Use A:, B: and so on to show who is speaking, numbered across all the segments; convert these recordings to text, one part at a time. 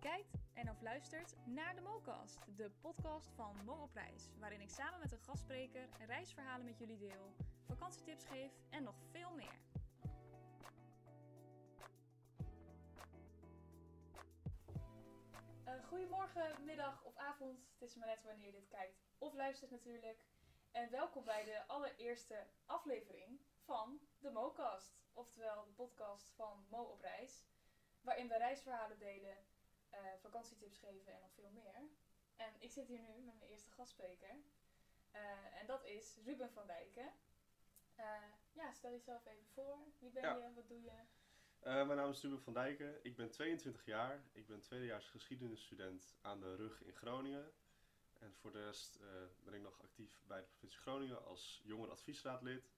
A: kijkt en of luistert naar de Mocast, de podcast van Morrelprijs, waarin ik samen met een gastspreker reisverhalen met jullie deel, vakantietips geef en nog veel meer. Eh, goedemorgen, middag of avond. Het is maar net wanneer je dit kijkt of luistert natuurlijk. En welkom bij de allereerste aflevering van de MoCast. Oftewel de podcast van Mo op reis. Waarin we reisverhalen delen, eh, vakantietips geven en nog veel meer. En ik zit hier nu met mijn eerste gastspreker. Eh, en dat is Ruben van Dijken. Eh, ja, stel jezelf even voor. Wie ben
B: Ja.
A: je? Wat doe je?
B: Eh, mijn naam is Ruben van Dijken, ik ben 22 jaar. Ik ben tweedejaars geschiedenisstudent aan de RUG in Groningen. En voor de rest eh, ben ik nog actief bij de provincie Groningen als jongerenadviesraadlid.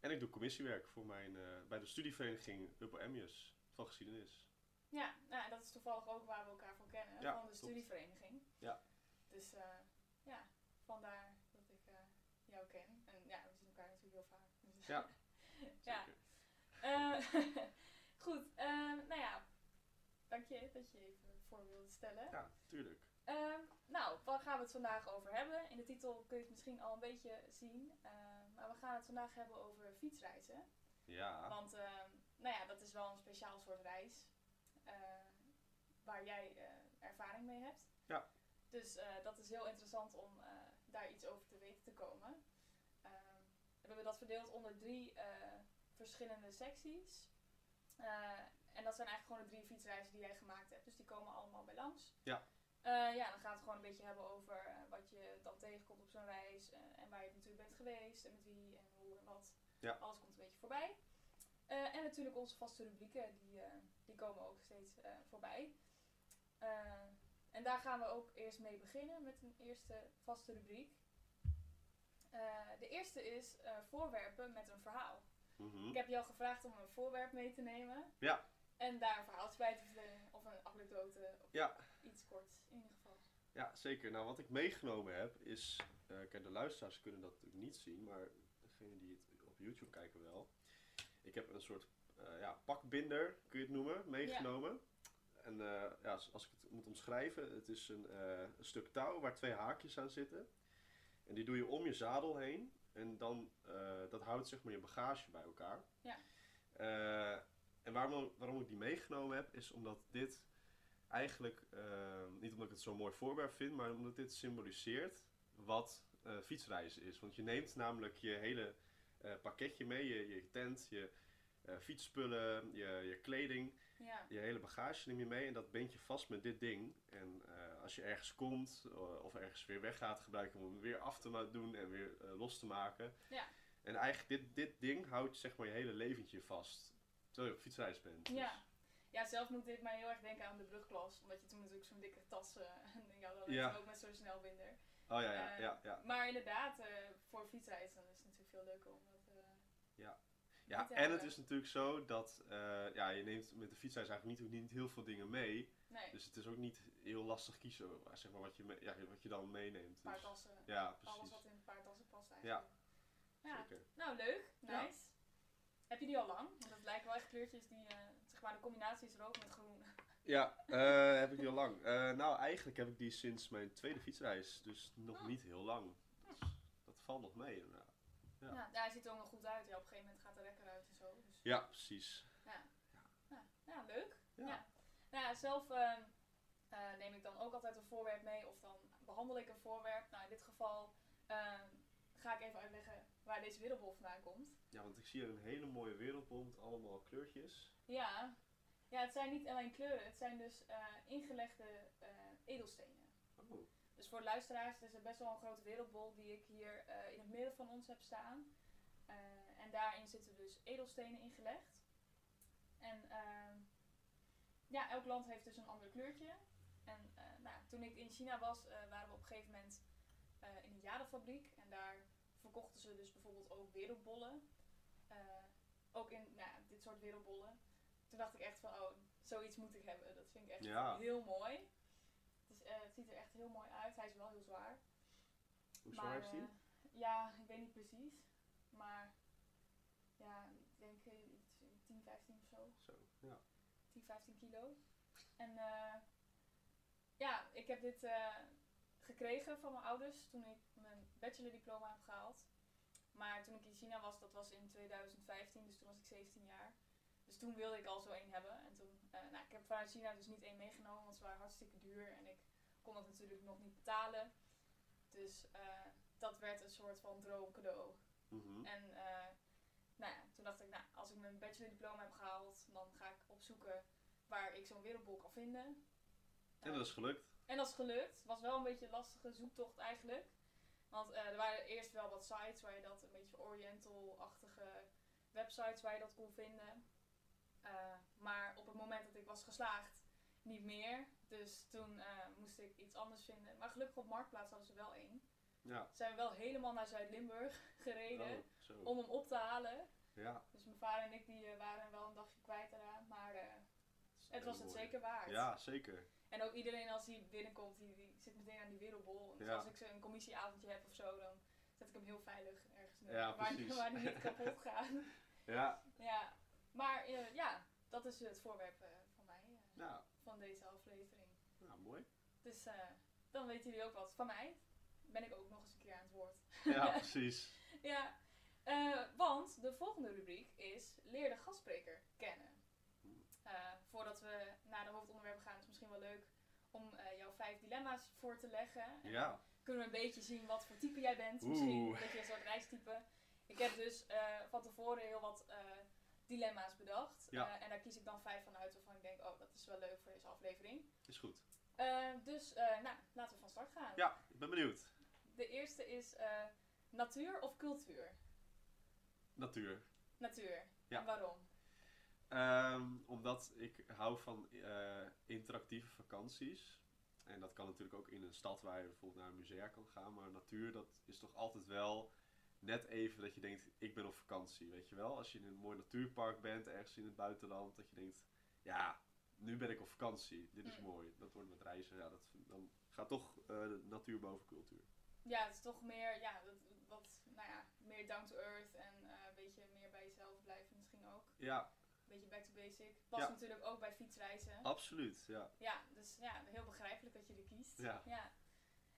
B: En ik doe commissiewerk voor mijn, eh, bij de studievereniging Upper Emmius van geschiedenis.
A: Ja, nou, en dat is toevallig ook waar we elkaar van kennen.
B: Ja,
A: van de
B: klopt.
A: studievereniging.
B: Ja.
A: Dus eh, ja, vandaar dat ik eh, jou ken. En ja, we zien elkaar natuurlijk heel vaak. Dus-
B: Ja,
A: ja.
B: zeker.
A: Eh, goed, eh, nou ja. Dank je dat je even voor wilde stellen.
B: Ja, tuurlijk.
A: Ehm, nou, waar gaan we het vandaag over hebben? In de titel kun je het misschien al een beetje zien. eh, maar we gaan het vandaag hebben over fietsreizen.
B: Ja,
A: Want ehm, nou ja, dat is wel een speciaal soort reis. eh, waar jij eh, ervaring mee hebt.
B: Ja.
A: Dus eh, dat is heel interessant om eh, daar iets over te weten te komen. Ehm, we hebben dat verdeeld onder drie eh, verschillende secties. Eh, en dat zijn eigenlijk gewoon de drie fietsreizen die jij gemaakt hebt. Dus die komen allemaal bij langs.
B: Ja.
A: Eh, ja, dan gaan we het gewoon een beetje hebben over eh, wat je dan tegenkomt op zo'n reis. eh, en waar je natuurlijk bent geweest. En met wie en hoe en wat.
B: Ja.
A: Alles komt een beetje voorbij. Eh, en natuurlijk onze vaste rubrieken, die, eh, die komen ook steeds eh, voorbij. Eh, en daar gaan we ook eerst mee beginnen met een eerste vaste rubriek. Eh, de eerste is eh, voorwerpen met een verhaal.
B: Mhm.
A: Ik heb jou gevraagd om een voorwerp mee te nemen.
B: Ja.
A: En daar een verhaaltje bij te vertellen, of een anekdote, of
B: ja,
A: iets korts in ieder geval.
B: ja, zeker. Nou, wat ik meegenomen heb is... eh, kijk, de luisteraars kunnen dat natuurlijk niet zien, maar degenen die het op YouTube kijken wel. Ik heb een soort eh, ja, pakbinder, kun je het noemen, meegenomen. En eh, ja, als, als ik het moet omschrijven, het is een, eh, een stuk touw waar twee haakjes aan zitten. En die doe je om je zadel heen. En dan, eh, dat houdt zeg maar je bagage bij elkaar.
A: Ja.
B: Eh, en waarom, waarom ik die meegenomen heb, is omdat dit eigenlijk, eh, niet omdat ik het zo'n mooi voorwerp vind, maar omdat dit symboliseert wat eh, fietsreizen is. Want je neemt namelijk je hele eh, pakketje mee, je, je tent, je eh, fietsspullen, je, je kleding,
A: Ja,
B: je hele bagage neem je mee en dat bind je vast met dit ding. En eh, als je ergens komt eh, of ergens weer weggaat, gebruik je hem om hem weer af te ma- doen en weer eh, los te maken.
A: ja,
B: En eigenlijk, dit, dit ding houdt zeg maar je hele leventje vast. Terwijl je op fietsreis bent. Dus-
A: ja. Ja, zelf moet dit mij heel erg denken aan de brugklas. Omdat je toen natuurlijk zo'n dikke tas eh, en jou dan
B: Ja.
A: ook met zo'n snelbinder.
B: Oh ja, ja,
A: Eh,
B: ja, ja.
A: Maar inderdaad, eh, voor fietsreizen dan is het natuurlijk veel leuker om dat. eh,
B: Ja.
A: niet
B: Ja,
A: te
B: en het
A: hebben.
B: is natuurlijk zo dat eh, ja, je neemt met de fietsreis eigenlijk niet, niet heel veel dingen mee.
A: Nee,
B: Dus het is ook niet heel lastig kiezen eh, zeg maar, wat, je me- ja, wat je dan meeneemt. Dus-
A: paardassen.
B: ja,
A: alles
B: precies.
A: wat in een paardassen past eigenlijk. Ja.
B: Zeker.
A: Nou, leuk.
B: Ja.
A: Nice. Heb je die al lang? Want dat lijken wel echt kleurtjes die, eh, zeg maar, de combinatie is rood met groen.
B: Ja, eh, heb ik die al lang. Eh, nou, eigenlijk heb ik die sinds mijn tweede fietsreis. Dus nog
A: Ah.
B: niet heel lang. Dus dat valt nog mee. inderdaad. Ja.
A: Ja, ja hij ziet er ook nog goed uit. Ja, op een gegeven moment gaat de lekker uit en zo. Dus,
B: Ja, precies.
A: ja.
B: Ja.
A: Ja. Ja, leuk.
B: Ja.
A: Ja. Nou ja, zelf eh, eh, neem ik dan ook altijd een voorwerp mee of dan behandel ik een voorwerp. Nou, in dit geval eh, ga ik even uitleggen waar deze wereldbol vandaan komt.
B: Ja, want ik zie hier een hele mooie wereldbol met allemaal kleurtjes.
A: Ja. ja, het zijn niet alleen kleuren, het zijn dus eh, ingelegde eh, edelstenen.
B: Oh,
A: Dus voor de luisteraars, het is best wel een grote wereldbol die ik hier eh, in het midden van ons heb staan. Eh, en daarin zitten dus edelstenen ingelegd. En ehm, ja, elk land heeft dus een ander kleurtje. En eh, nou, toen ik in China was, eh, waren we op een gegeven moment eh, in een jadenfabriek. En daar verkochten ze dus bijvoorbeeld ook wereldbollen. Eh, ook in nou, ja, dit soort wereldbollen. Toen dacht ik echt van, oh, zoiets moet ik hebben. Dat vind ik echt
B: Ja.
A: heel mooi. Het, is, eh, het ziet er echt heel mooi uit. Hij is wel heel zwaar.
B: hoe zwaar is die?
A: eh, ja, ik weet niet precies. Maar ja, ik denk eh, iets- 10, 15 of zo.
B: Zo, ja.
A: 10, 15 kilo. En eh, ik heb dit eh, gekregen van mijn ouders toen ik mijn bachelordiploma heb gehaald. Maar toen ik in China was, dat was in 2015, dus toen was ik 17 jaar. Dus toen wilde ik al zo één hebben. En toen, eh, nou, ik heb vanuit China dus niet één meegenomen, want ze waren hartstikke duur en ik kon dat natuurlijk nog niet betalen. Dus eh, dat werd een soort van droomcadeau.
B: Mhm.
A: En eh, nou ja, toen dacht ik, nou, als ik mijn bachelordiploma heb gehaald, dan ga ik opzoeken waar ik zo'n wereldbol kan vinden.
B: En dat is gelukt.
A: En dat is gelukt. Het was wel een beetje een lastige zoektocht eigenlijk. Want eh, er waren eerst wel wat sites waar je dat, een beetje oriental-achtige websites waar je dat kon vinden. Eh, maar op het moment dat ik was geslaagd, niet meer. Dus toen eh, moest ik iets anders vinden. Maar gelukkig op Marktplaats hadden ze wel één.
B: Ja.
A: Zijn we wel helemaal naar Zuid-Limburg gereden
B: Oh, zo.
A: om hem op te halen.
B: Ja.
A: Dus mijn vader en ik die, eh, waren wel een dagje kwijt eraan, maar eh, het was het zeker waard.
B: Ja, zeker.
A: En ook iedereen als hij binnenkomt, die, die zit meteen aan die wereldbol. En Dus
B: Ja.
A: als ik zo een commissieavondje heb of zo, dan zet ik hem heel veilig ergens neer,
B: Ja,
A: waar, die-
B: precies.
A: waar die niet kapot gaat.
B: Ja.
A: ja. Maar eh, ja, dat is het voorwerp eh, van mij, eh,
B: Ja.
A: van deze aflevering.
B: Nou, mooi.
A: Dus eh, dan weten jullie ook wat van mij. Ben ik ook nog eens een keer aan het woord.
B: Ja, precies.
A: Ja, eh, want de volgende rubriek is leer de gastspreker kennen. Eh, voordat we naar de hoofdonderwerpen gaan, is het misschien wel leuk om eh, jouw vijf dilemma's voor te leggen. En
B: Ja.
A: Kunnen we een beetje zien wat voor type jij bent?
B: Oeh.
A: Misschien een beetje een soort reistype. Ik heb dus eh, van tevoren heel wat eh, dilemma's bedacht.
B: Ja.
A: Eh, en daar kies ik dan vijf van uit waarvan ik denk, oh, dat is wel leuk voor deze aflevering.
B: Is goed.
A: Eh, dus, eh, nou, laten we van start gaan.
B: Ja, ik ben benieuwd.
A: De eerste is eh, natuur of cultuur?
B: Natuur.
A: Natuur.
B: Ja.
A: En waarom?
B: Ehm, omdat ik hou van eh, interactieve vakanties. En dat kan natuurlijk ook in een stad waar je bijvoorbeeld naar een musea kan gaan. Maar natuur, dat is toch altijd wel net even dat je denkt, ik ben op vakantie. Weet je wel, als je in een mooi natuurpark bent, ergens in het buitenland, dat je denkt, ja, nu ben ik op vakantie. Dit is
A: Mm.
B: mooi. Dat wordt met reizen, ja, dat, dan gaat toch eh, de natuur boven cultuur.
A: Ja, het is toch meer, ja, dat, wat, nou ja, meer down to earth en eh, een beetje meer bij jezelf blijven misschien ook.
B: Ja,
A: Een beetje back to basic. Past
B: Ja. Ah.
A: natuurlijk ook bij fietsreizen.
B: absoluut. Ja.
A: Ja, dus ja, heel begrijpelijk dat je er kiest.
B: Ja.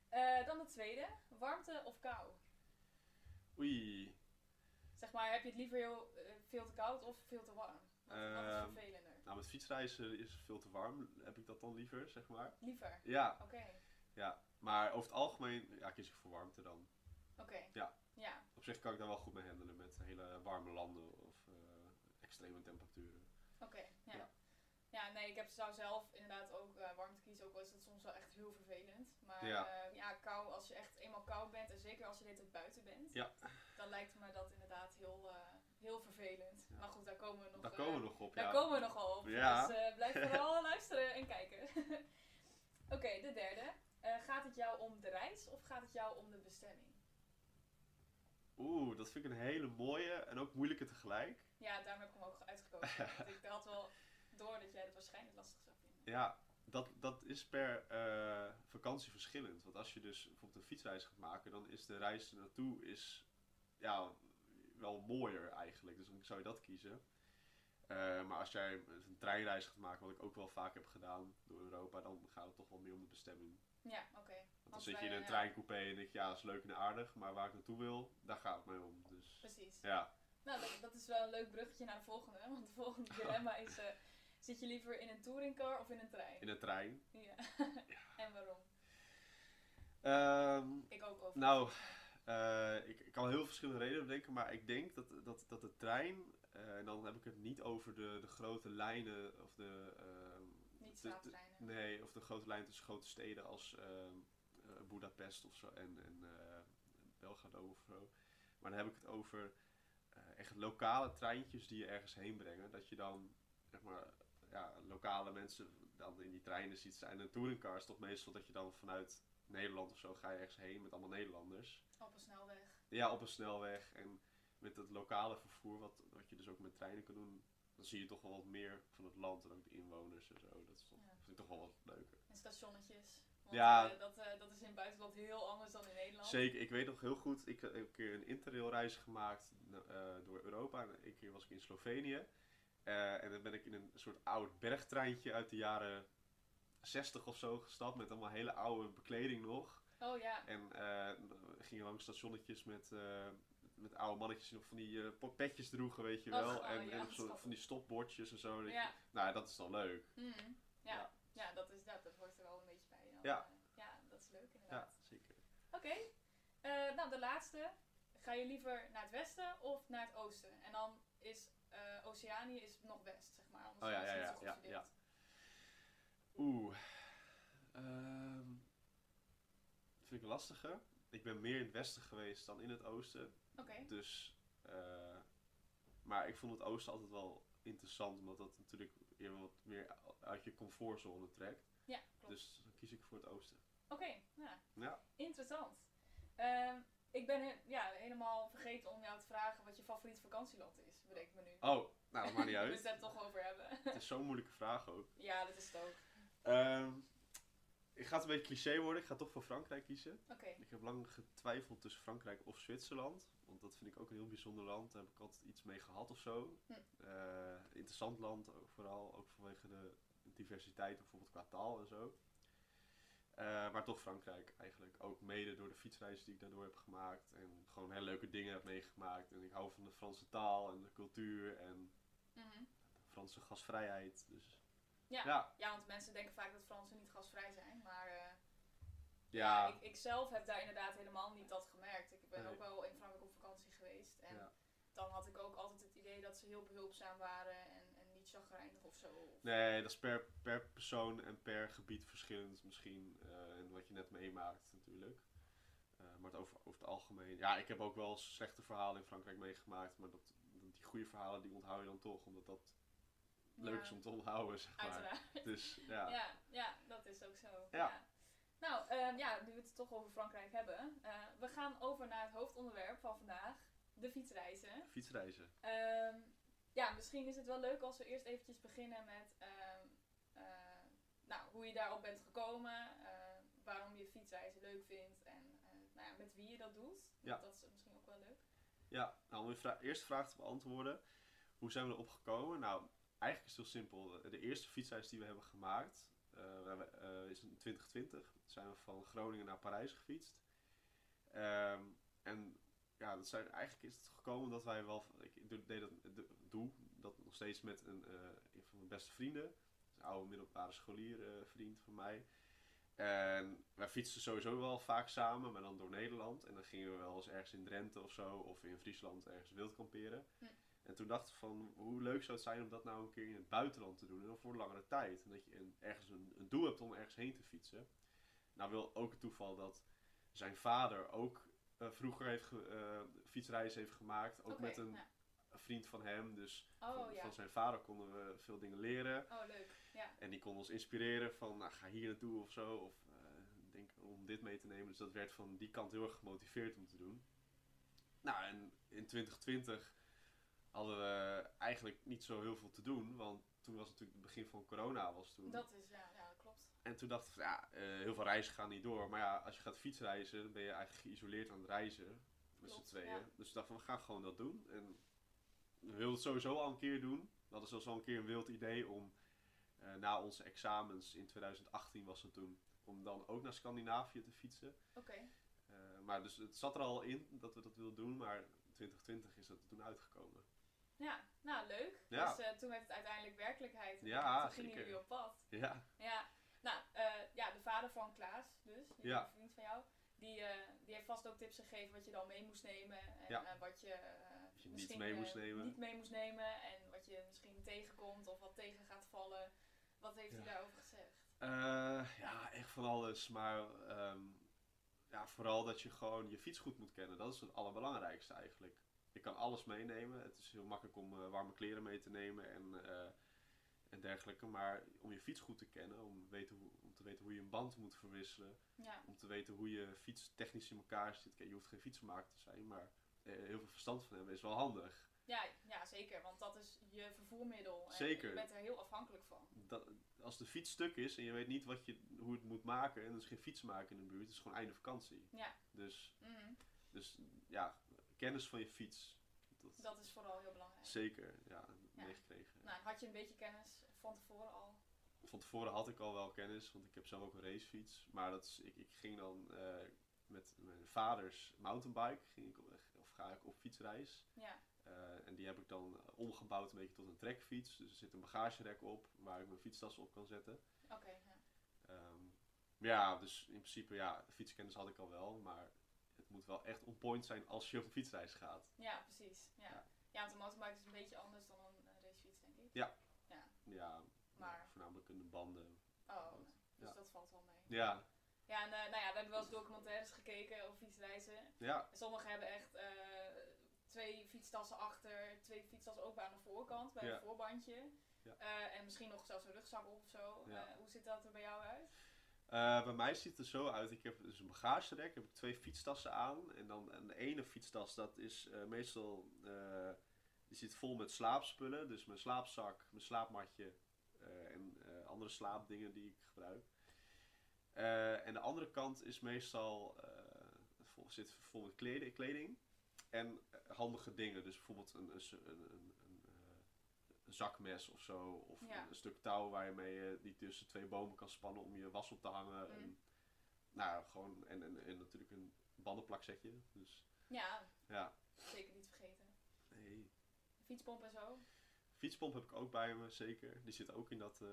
A: Eh, dan de tweede, warmte of kou?
B: Oei,
A: Zeg maar, heb je het liever heel, eh, veel te koud of veel te warm? Wat, wat is
B: Ehm.
A: vervelender?
B: nou met fietsreizen is het veel te warm. Heb ik dat dan liever, zeg maar?
A: Liever,
B: Ja,
A: oké.
B: Maar over het algemeen ja, kies ik voor warmte dan.
A: Oké.
B: Ja.
A: Ja,
B: Op zich kan ik daar wel goed mee handelen met hele warme landen of eh, extreme temperaturen.
A: oké. ja.
B: Ja.
A: ja. nee, ik heb, zou zelf inderdaad ook eh, warmte kiezen, ook al is dat soms wel echt heel vervelend. Maar
B: Ja.
A: ja. ja, kou, als je echt eenmaal koud bent, en zeker als je dit buiten bent,
B: Ja.
A: dan lijkt me dat inderdaad heel, eh, heel vervelend.
B: Ja.
A: Maar goed, daar komen we nog
B: Daar
A: eh,
B: komen we nog op,
A: Daar
B: ja.
A: komen we nogal op.
B: Ja.
A: Dus eh, blijf vooral luisteren en kijken. Oké, de derde. Eh, gaat het jou om de reis of gaat het jou om de bestemming?
B: Oeh, dat vind ik een hele mooie en ook moeilijke tegelijk.
A: Ja, daarom heb ik hem ook uitgekozen. want ik had wel door dat jij het waarschijnlijk lastig zou vinden.
B: Ja, dat, dat is per eh, vakantie verschillend. Want als je dus bijvoorbeeld een fietsreis gaat maken, dan is de reis ernaartoe is, ja, wel mooier eigenlijk. Dus dan zou je dat kiezen. Eh, maar als jij een treinreis gaat maken, wat ik ook wel vaak heb gedaan door Europa, dan gaat het toch wel meer om de bestemming.
A: Ja, oké.
B: Want dan
A: Want
B: zit je
A: wij,
B: in een
A: eh,
B: treincoupé en denk je, ja, is leuk en aardig, maar waar ik naartoe wil, daar gaat het mij om. Dus
A: Precies.
B: ja,
A: Nou, dat, dat is wel een leuk bruggetje naar de volgende. Want de volgende dilemma is... eh, zit je liever in een touringcar of in een trein?
B: in een trein.
A: Ja. en waarom?
B: Ehm,
A: Ik ook over.
B: nou, eh, ik, ik kan heel verschillende redenen bedenken, maar ik denk dat, dat, dat de trein, eh, en dan heb ik het niet over de, de grote lijnen of de, ehm,
A: Niet
B: de- de,
A: straattreinen.
B: Nee, of de grote lijn tussen grote steden als ehm eh, Boedapest of zo en, en eh, Belgrado of zo. Maar dan heb ik het over eh, echt lokale treintjes die je ergens heen brengen. Dat je dan, zeg maar, ja, lokale mensen dan in die treinen ziet zijn. En touringcars toch meestal dat je dan vanuit Nederland of zo ga je ergens heen met allemaal Nederlanders.
A: Op een snelweg.
B: Ja, op een snelweg en met het lokale vervoer, wat, wat je dus ook met treinen kan doen. Dan zie je toch wel wat meer van het land en ook de inwoners en zo. Dat is toch,
A: Ja.
B: vind ik toch wel wat leuker.
A: En stationnetjes. Want
B: Ja.
A: eh, dat, eh, dat is in het buitenland heel anders dan in Nederland.
B: Zeker, ik weet nog heel goed. Ik heb een keer een interrailreis gemaakt eh, door Europa. En een keer was ik in Slovenië. Eh, en dan ben ik in een soort oud bergtreintje uit de jaren 60 of zo gestapt met allemaal hele oude bekleding nog.
A: Oh ja,
B: En eh, we gingen langs stationnetjes met, eh, met oude mannetjes die nog van die eh, petjes droegen, weet je
A: Och,
B: wel.
A: oh
B: en
A: ja,
B: en
A: dat is
B: zo,
A: grappig.
B: van die stopbordjes en zo. Dat je-
A: ja.
B: Nou, dat is dan leuk.
A: Mm.
B: Ja.
A: Ja. ja, dat is dat. Dat hoort er wel een beetje bij. Dan,
B: Ja.
A: eh, ja, dat is leuk inderdaad.
B: Ja, zeker.
A: Oké, Eh, nou de laatste. Ga je liever naar het westen of naar het oosten? En dan is eh, Oceanië is nog west, zeg maar. Anders
B: Oh ja,
A: is het
B: ja,
A: niet
B: ja,
A: zo
B: ja,
A: goed
B: ja.
A: verdeeld.
B: Oeh. Ehm vind ik lastiger. Ik ben meer in het westen geweest dan in het oosten.
A: Oké,
B: Dus, eh, maar ik vond het oosten altijd wel interessant, omdat dat natuurlijk je wat meer uit je comfortzone trekt.
A: ja, klopt.
B: Dus dan kies ik voor het oosten.
A: Oké, ja.
B: Ja.
A: Interessant. Ehm, ik ben he- ja, helemaal vergeten om jou te vragen wat je favoriet vakantieland is, bedenk ik me nu.
B: Oh, nou, dat maakt niet
A: We het
B: uit.
A: daar toch over hebben.
B: Het is zo'n moeilijke vraag ook.
A: ja, dat is het ook.
B: Ehm ik ga het een beetje cliché worden. Ik ga toch voor Frankrijk kiezen.
A: Oké,
B: Ik heb lang getwijfeld tussen Frankrijk of Zwitserland. Want dat vind ik ook een heel bijzonder land. Daar heb ik altijd iets mee gehad of zo.
A: Hm.
B: Eh, interessant land, ook vooral ook vanwege de diversiteit, bijvoorbeeld qua taal en zo. Eh, maar toch Frankrijk eigenlijk. Ook mede door de fietsreis die ik daardoor heb gemaakt. En gewoon hele leuke dingen heb meegemaakt. En ik hou van de Franse taal en de cultuur en
A: mhm.
B: de Franse gastvrijheid. Dus
A: Ja.
B: ja.
A: Ja, want mensen denken vaak dat Fransen niet gasvrij zijn, maar eh,
B: Ja.
A: ja, ik, ik zelf heb daar inderdaad helemaal niet dat gemerkt. Ik ben
B: Nee.
A: ook wel in Frankrijk op vakantie geweest en
B: Ja.
A: dan had ik ook altijd het idee dat ze heel behulpzaam waren en, en niet chagrijnig of zo. Of-
B: Nee, dat is per, per persoon en per gebied verschillend misschien. eh, en wat je net meemaakt natuurlijk. Eh, maar het over, over het algemeen. Ja, ik heb ook wel slechte verhalen in Frankrijk meegemaakt. Maar dat, die goede verhalen die onthoud je dan toch. Omdat dat leuk
A: Ja,
B: is om te onthouden, zeg maar.
A: Uiteraard.
B: Dus ja.
A: Ja, ja, dat is ook zo.
B: Ja.
A: Ja. Nou, ehm, ja, nu we het toch over Frankrijk hebben. eh, we gaan over naar het hoofdonderwerp van vandaag, de fietsreizen.
B: Fietsreizen.
A: Ehm, ja, misschien is het wel leuk als we eerst eventjes beginnen met ehm, eh, nou, hoe je daarop bent gekomen, eh, waarom je fietsreizen leuk vindt en eh, nou ja, met wie je dat doet.
B: Ja.
A: Dat is misschien ook wel leuk.
B: Ja, nou om je vra- eerste vraag te beantwoorden. Hoe zijn we erop gekomen? Nou, eigenlijk is het heel simpel. De eerste fietsreis die we hebben gemaakt eh, we hebben, eh, is in 2020. Zijn we van Groningen naar Parijs gefietst. Ehm, en ja, dat zijn, eigenlijk is het gekomen dat wij wel... Ik doe- deed dat, do- doe dat nog steeds met een, eh, een van mijn beste vrienden. Een oude middelbare scholier eh, vriend van mij. En wij fietsten sowieso wel vaak samen, maar dan door Nederland. En dan gingen we wel eens ergens in Drenthe of zo, of in Friesland ergens wild kamperen.
A: Hm.
B: En toen dachten we van, hoe leuk zou het zijn om dat nou een keer in het buitenland te doen. En dan voor langere tijd. En dat je een, ergens een, een doel hebt om ergens heen te fietsen. Nou wil ook het toeval dat zijn vader ook eh, vroeger heeft ge- eh, fietsreizen heeft gemaakt. Ook
A: Oké,
B: met een
A: ja.
B: vriend van hem. Dus
A: Oh
B: van,
A: ja,
B: van zijn vader konden we veel dingen leren.
A: oh leuk. Ja.
B: En die kon ons inspireren van, nou, ga hier naartoe of zo. Of eh, denk om dit mee te nemen. Dus dat werd van die kant heel erg gemotiveerd om te doen. Nou, en in 2020 hadden we eigenlijk niet zo heel veel te doen. Want toen was natuurlijk het begin van corona was toen.
A: Dat is, ja, ja dat klopt.
B: En toen dachten we, ja, eh, heel veel reizen gaan niet door. Maar ja, als je gaat fietsreizen, dan ben je eigenlijk geïsoleerd aan het reizen. Met z'n
A: Klopt,
B: tweeën.
A: ja.
B: Dus we dachten, we gaan gewoon dat doen. En we wilden het sowieso al een keer doen. We hadden zelfs al een keer een wild idee om eh, na onze examens in 2018 was het toen. Om dan ook naar Scandinavië te fietsen.
A: Oké,
B: Eh, maar dus het zat er al in dat we dat wilden doen. Maar 2020 is dat er toen uitgekomen.
A: ja, nou leuk.
B: Ja.
A: Dus eh, toen werd het uiteindelijk werkelijkheid.
B: Ja,
A: toen gingen
B: zeker.
A: jullie op pad.
B: Ja,
A: Ja, nou, eh, ja, de vader van Klaas, dus, die
B: Ja.
A: vriend van jou, die, eh, die heeft vast ook tips gegeven wat je dan mee moest nemen en
B: Ja.
A: eh, wat je, eh,
B: Wat je niet
A: misschien,
B: mee
A: eh,
B: moest nemen.
A: niet mee moest nemen en wat je misschien tegenkomt of wat tegen gaat vallen. Wat heeft
B: Ja.
A: hij daarover gezegd?
B: Eh, ja, echt van alles. Maar ehm, ja, vooral dat je gewoon je fiets goed moet kennen. Dat is het allerbelangrijkste eigenlijk. Je kan alles meenemen. Het is heel makkelijk om eh, warme kleren mee te nemen en, eh, en dergelijke. Maar om je fiets goed te kennen, om, weten hoe, om te weten hoe je een band moet verwisselen.
A: Ja,
B: Om te weten hoe je fiets technisch in elkaar zit. Kijk, Je hoeft geen fietsenmaker te zijn, maar eh, heel veel verstand van hebben is wel handig.
A: ja, ja, zeker, want dat is je vervoermiddel en
B: Zeker.
A: je bent er heel afhankelijk van.
B: dat, als de fiets stuk is en je weet niet wat je, hoe het moet maken en er is geen fietsenmaker in de buurt, het is gewoon einde vakantie.
A: Ja.
B: Dus,
A: Mhm,
B: dus ja, kennis van je fiets. Dat,
A: Dat is vooral heel belangrijk.
B: zeker, ja,
A: Ja.
B: meegekregen.
A: Nou, had je een beetje kennis van tevoren al?
B: van tevoren had ik al wel kennis, want ik heb zelf ook een racefiets. Maar dat is, ik, ik ging dan eh, met mijn vaders mountainbike, ging ik op, of ga ik op fietsreis.
A: Ja,
B: Eh, en die heb ik dan omgebouwd een beetje tot een trekfiets. Dus er zit een bagagerek op waar ik mijn fietstas op kan zetten.
A: oké. ja.
B: Ehm, maar ja, dus in principe, ja, fietskennis had ik al wel. Maar het moet wel echt on point zijn als je op een fietsreis gaat.
A: ja, precies. Ja.
B: Ja.
A: ja, want een mountainbike is een beetje anders dan een eh, racefiets, denk ik.
B: Ja,
A: Maar-
B: voornamelijk in de banden.
A: Oh,
B: Goed.
A: dus
B: Ja.
A: dat valt wel mee.
B: Ja,
A: Ja, en eh, nou ja, we hebben wel eens documentaires gekeken over fietsreizen.
B: ja,
A: En Sommigen hebben echt eh, twee fietstassen achter, twee fietstassen ook aan de voorkant, bij
B: Ja.
A: een voorbandje.
B: Ja.
A: Eh, en misschien nog zelfs een rugzak op of zo.
B: Ja.
A: Eh, hoe ziet dat er bij jou uit?
B: Eh, bij mij ziet het er zo uit. Ik heb dus een bagagerek, heb ik twee fietstassen aan. En dan en de ene fietstas, dat is eh, meestal, eh, die zit vol met slaapspullen. Dus mijn slaapzak, mijn slaapmatje eh, en eh, andere slaapdingen die ik gebruik. Eh, en de andere kant is meestal, eh, vol, zit vol met kleding, kleding en eh, handige dingen. Dus bijvoorbeeld een, een, s- een, een, een, eh, een zakmes of zo. Of
A: Ja.
B: een, een stuk touw waarmee je eh, die tussen twee bomen kan spannen om je was op te hangen.
A: Mm.
B: En, nou, ja, gewoon, en, en, en natuurlijk een bandenplakzetje. Dus
A: Ja,
B: ja,
A: zeker niet vergeten.
B: nee.
A: Fietspomp en zo.
B: Fietspomp heb ik ook bij me, zeker. Die zit ook in dat eh,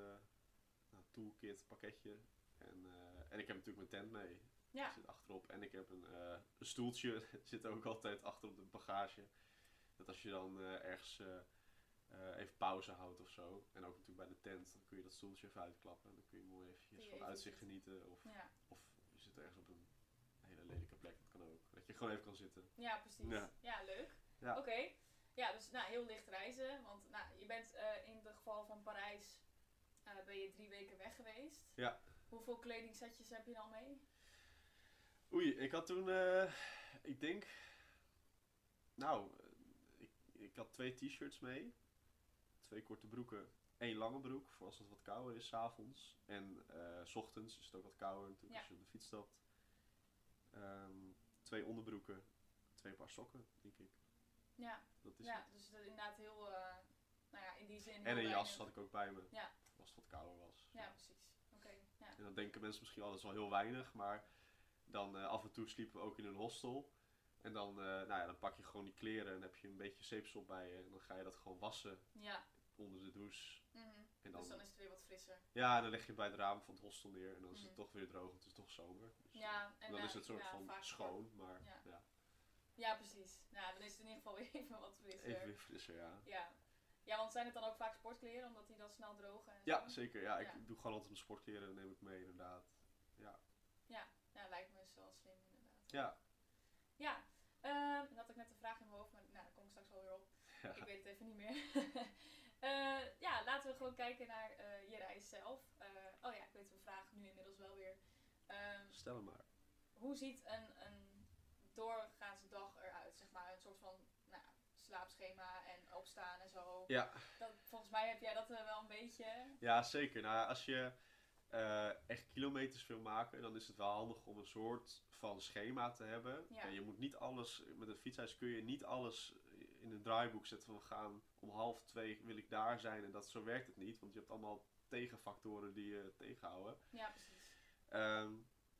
B: nou, toolkit pakketje. En, eh, en ik heb natuurlijk mijn tent mee.
A: Ja.
B: Die zit achterop. En ik heb een, eh, een stoeltje. zit ook altijd achter op de bagage. Dat als je dan eh, ergens eh, eh, even pauze houdt of zo. En ook natuurlijk bij de tent. Dan kun je dat stoeltje even uitklappen. En dan kun je mooi
A: Kun je
B: eventjes van
A: even
B: het uitzicht
A: zitten.
B: genieten. Of,
A: Ja,
B: of je zit ergens op een hele lelijke plek. Dat kan ook. Dat je gewoon even kan zitten.
A: ja precies. Ja,
B: Ja.
A: leuk.
B: Ja.
A: Oké. Ja, dus nou, heel licht reizen. Want nou, je bent eh, in het geval van Parijs eh, ben je drie weken weg geweest.
B: Ja.
A: Hoeveel kledingsetjes heb je dan mee?
B: Oei, ik had toen, eh, ik denk, nou, eh, ik, ik had twee t-shirts mee, twee korte broeken, één lange broek voor als het wat kouder is 's avonds. En eh, 's ochtends is het ook wat kouder natuurlijk
A: Ja.
B: als je op de fiets stapt. Ehm, twee onderbroeken, twee paar sokken, denk ik.
A: Ja.
B: Dat is
A: Ja,
B: het.
A: dus dat is inderdaad heel, eh, nou ja, in die zin.
B: En
A: heel
B: een jas
A: weinig.
B: had ik ook bij me,
A: Ja.
B: als het wat kouder was.
A: Ja, precies. Oké, ja.
B: En dan denken mensen misschien al, dat is wel heel weinig, maar dan eh, af en toe sliepen we ook in een hostel. En dan, eh, nou ja, dan pak je gewoon die kleren en heb je een beetje zeepsel bij je. En dan ga je dat gewoon wassen
A: Ja,
B: onder de douche.
A: mhm.
B: En dan,
A: dus dan is het weer wat frisser.
B: Ja, en dan leg je bij het raam van het hostel neer en dan is het
A: Mhm.
B: toch weer droog. Het is toch zomer. Dus, eh,
A: Ja, en
B: dan
A: eh,
B: is het soort
A: ja,
B: van
A: vaak-
B: schoon, maar
A: Ja.
B: ja.
A: Ja, precies. Nou, dan is het in ieder geval weer even wat frisser.
B: even weer frisser, ja.
A: Ja. ja, want zijn het dan ook vaak sportkleren, omdat die dan snel drogen? En
B: Ja,
A: zo?
B: zeker. Ja, ik
A: Ja.
B: doe gewoon altijd mijn sportkleren, neem ik mee inderdaad.
A: Ja, lijkt me dus wel slim inderdaad.
B: Ja,
A: Ja, ehm, dan had ik net een vraag in mijn hoofd, maar nou, daar kom ik straks wel weer op.
B: ja.
A: Ik weet het even niet meer. Eh, ja, laten we gewoon kijken naar eh, je reis zelf. Eh, oh ja, ik weet de vraag nu inmiddels wel weer. Ehm,
B: stel hem maar.
A: hoe ziet een, een doorgaans dag eruit? Zeg maar een soort van nou, ja, slaapschema en opstaan en zo.
B: Ja,
A: Dat, volgens mij heb jij dat eh, wel een beetje.
B: Ja, zeker. Nou, ja, als je eh, echt kilometers wil maken, dan is het wel handig om een soort van schema te hebben.
A: Ja.
B: En je moet niet alles, met een fietshuis kun je niet alles in een draaiboek zetten van we gaan om half twee wil ik daar zijn. En dat, zo werkt het niet, want je hebt allemaal tegenfactoren die je tegenhouden.
A: Ja, precies.
B: Ehm,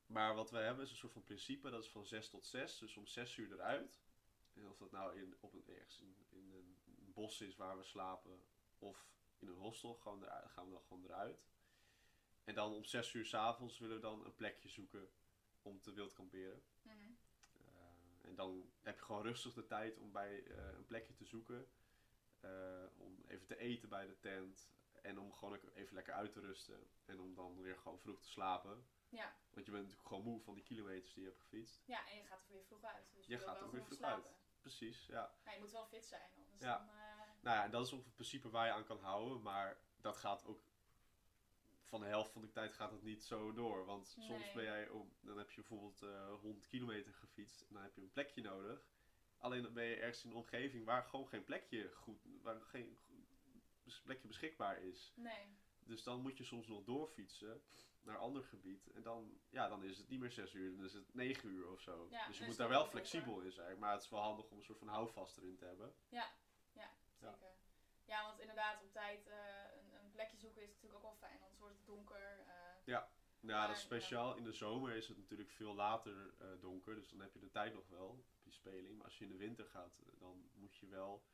B: maar wat we hebben is een soort van principe, dat is van 6 tot 6, dus om 6 uur eruit. En of dat nou in, op een, ergens in, in een bos is waar we slapen, of in een hostel, gewoon eruit, gaan we dan gewoon eruit. En dan om 6 uur s'avonds willen we dan een plekje zoeken om te wild kamperen.
A: Mhm.
B: Eh, en dan heb je gewoon rustig de tijd om bij eh, een plekje te zoeken. Eh, om even te eten bij de tent. En om gewoon ook even lekker uit te rusten. En om dan weer gewoon vroeg te slapen.
A: Ja.
B: Want je bent natuurlijk gewoon moe van die kilometers die je hebt gefietst.
A: Ja, en je gaat er weer vroeg uit. Dus
B: Je
A: wil
B: gaat
A: wel
B: er weer
A: genoeg
B: vroeg
A: slapen.
B: uit. Precies, ja.
A: Maar je moet wel fit zijn, anders
B: Ja.
A: dan... eh,
B: Nou ja, en dat is ook het principe waar je aan kan houden. Maar dat gaat ook. Van de helft van de tijd gaat het niet zo door. Want soms
A: Nee.
B: ben jij om, dan heb je bijvoorbeeld eh 100 kilometer gefietst. En dan heb je een plekje nodig. Alleen dan ben je ergens in een omgeving waar gewoon geen plekje goed. waar geen go- bes- plekje beschikbaar is.
A: nee.
B: Dus dan moet je soms nog doorfietsen naar ander gebied. En dan, ja, dan is het niet meer 6 uur, dan is het 9 uur of zo.
A: Ja,
B: dus
A: dan
B: je
A: is
B: moet
A: het
B: daar
A: wel
B: wel
A: donker.
B: flexibel in zijn. Maar het is wel handig om een soort van houvast erin te hebben.
A: Ja, zeker. Ja, want inderdaad, op tijd eh, een, een plekje zoeken is natuurlijk ook wel fijn, anders wordt het donker. eh,
B: Nou,
A: Maar,
B: dat is speciaal. In de zomer is het natuurlijk veel later eh, donker, dus dan heb je de tijd nog wel op die speling. Maar als je in de winter gaat, eh, dan moet je wel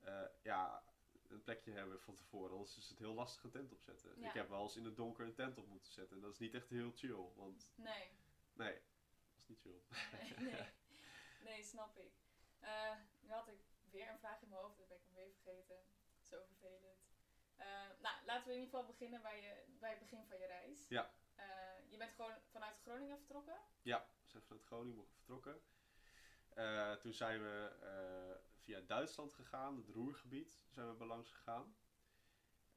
B: eh, ja, een plekje hebben van tevoren. Anders is het heel lastig een tent opzetten.
A: Ja.
B: Ik heb wel eens in het donker een tent op moeten zetten. En dat is niet echt heel chill, want
A: nee.
B: nee, dat is niet chill.
A: Nee, nee. nee, snap ik. Eh, nu had ik weer een vraag in mijn hoofd, dat ben ik hem weer vergeten. Zo vervelend. Eh, nou, laten we in ieder geval beginnen bij, je, bij het begin van je reis.
B: Ja.
A: Eh, je bent gewoon vanuit Groningen vertrokken.
B: Ja, we zijn vanuit Groningen vertrokken. Eh, toen zijn we eh, via Duitsland gegaan, het Roergebied, zijn we bij langs gegaan.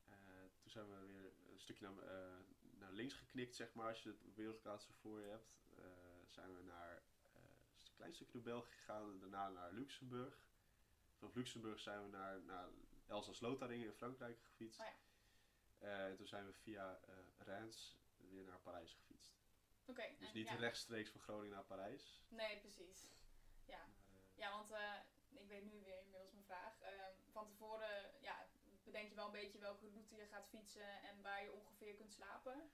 B: Eh, toen zijn we weer een stukje naar, eh, naar links geknikt, zeg maar, als je het wereldkaart zo voor je hebt. Eh, zijn we naar eh, een klein stukje door België gegaan en daarna naar Luxemburg. Vanaf Luxemburg zijn we naar, naar Elsass-Lotharingen in Frankrijk gefietst.
A: Oh ja.
B: Eh, en toen zijn we via eh Reims weer naar Parijs gefietst.
A: Oké. en-
B: Dus niet
A: ja.
B: rechtstreeks van Groningen naar Parijs.
A: Nee, precies. Ja. Ja, want eh, ik weet nu weer inmiddels mijn vraag. Ehm, van tevoren ja, bedenk je wel een beetje welke route je gaat fietsen en waar je ongeveer kunt slapen.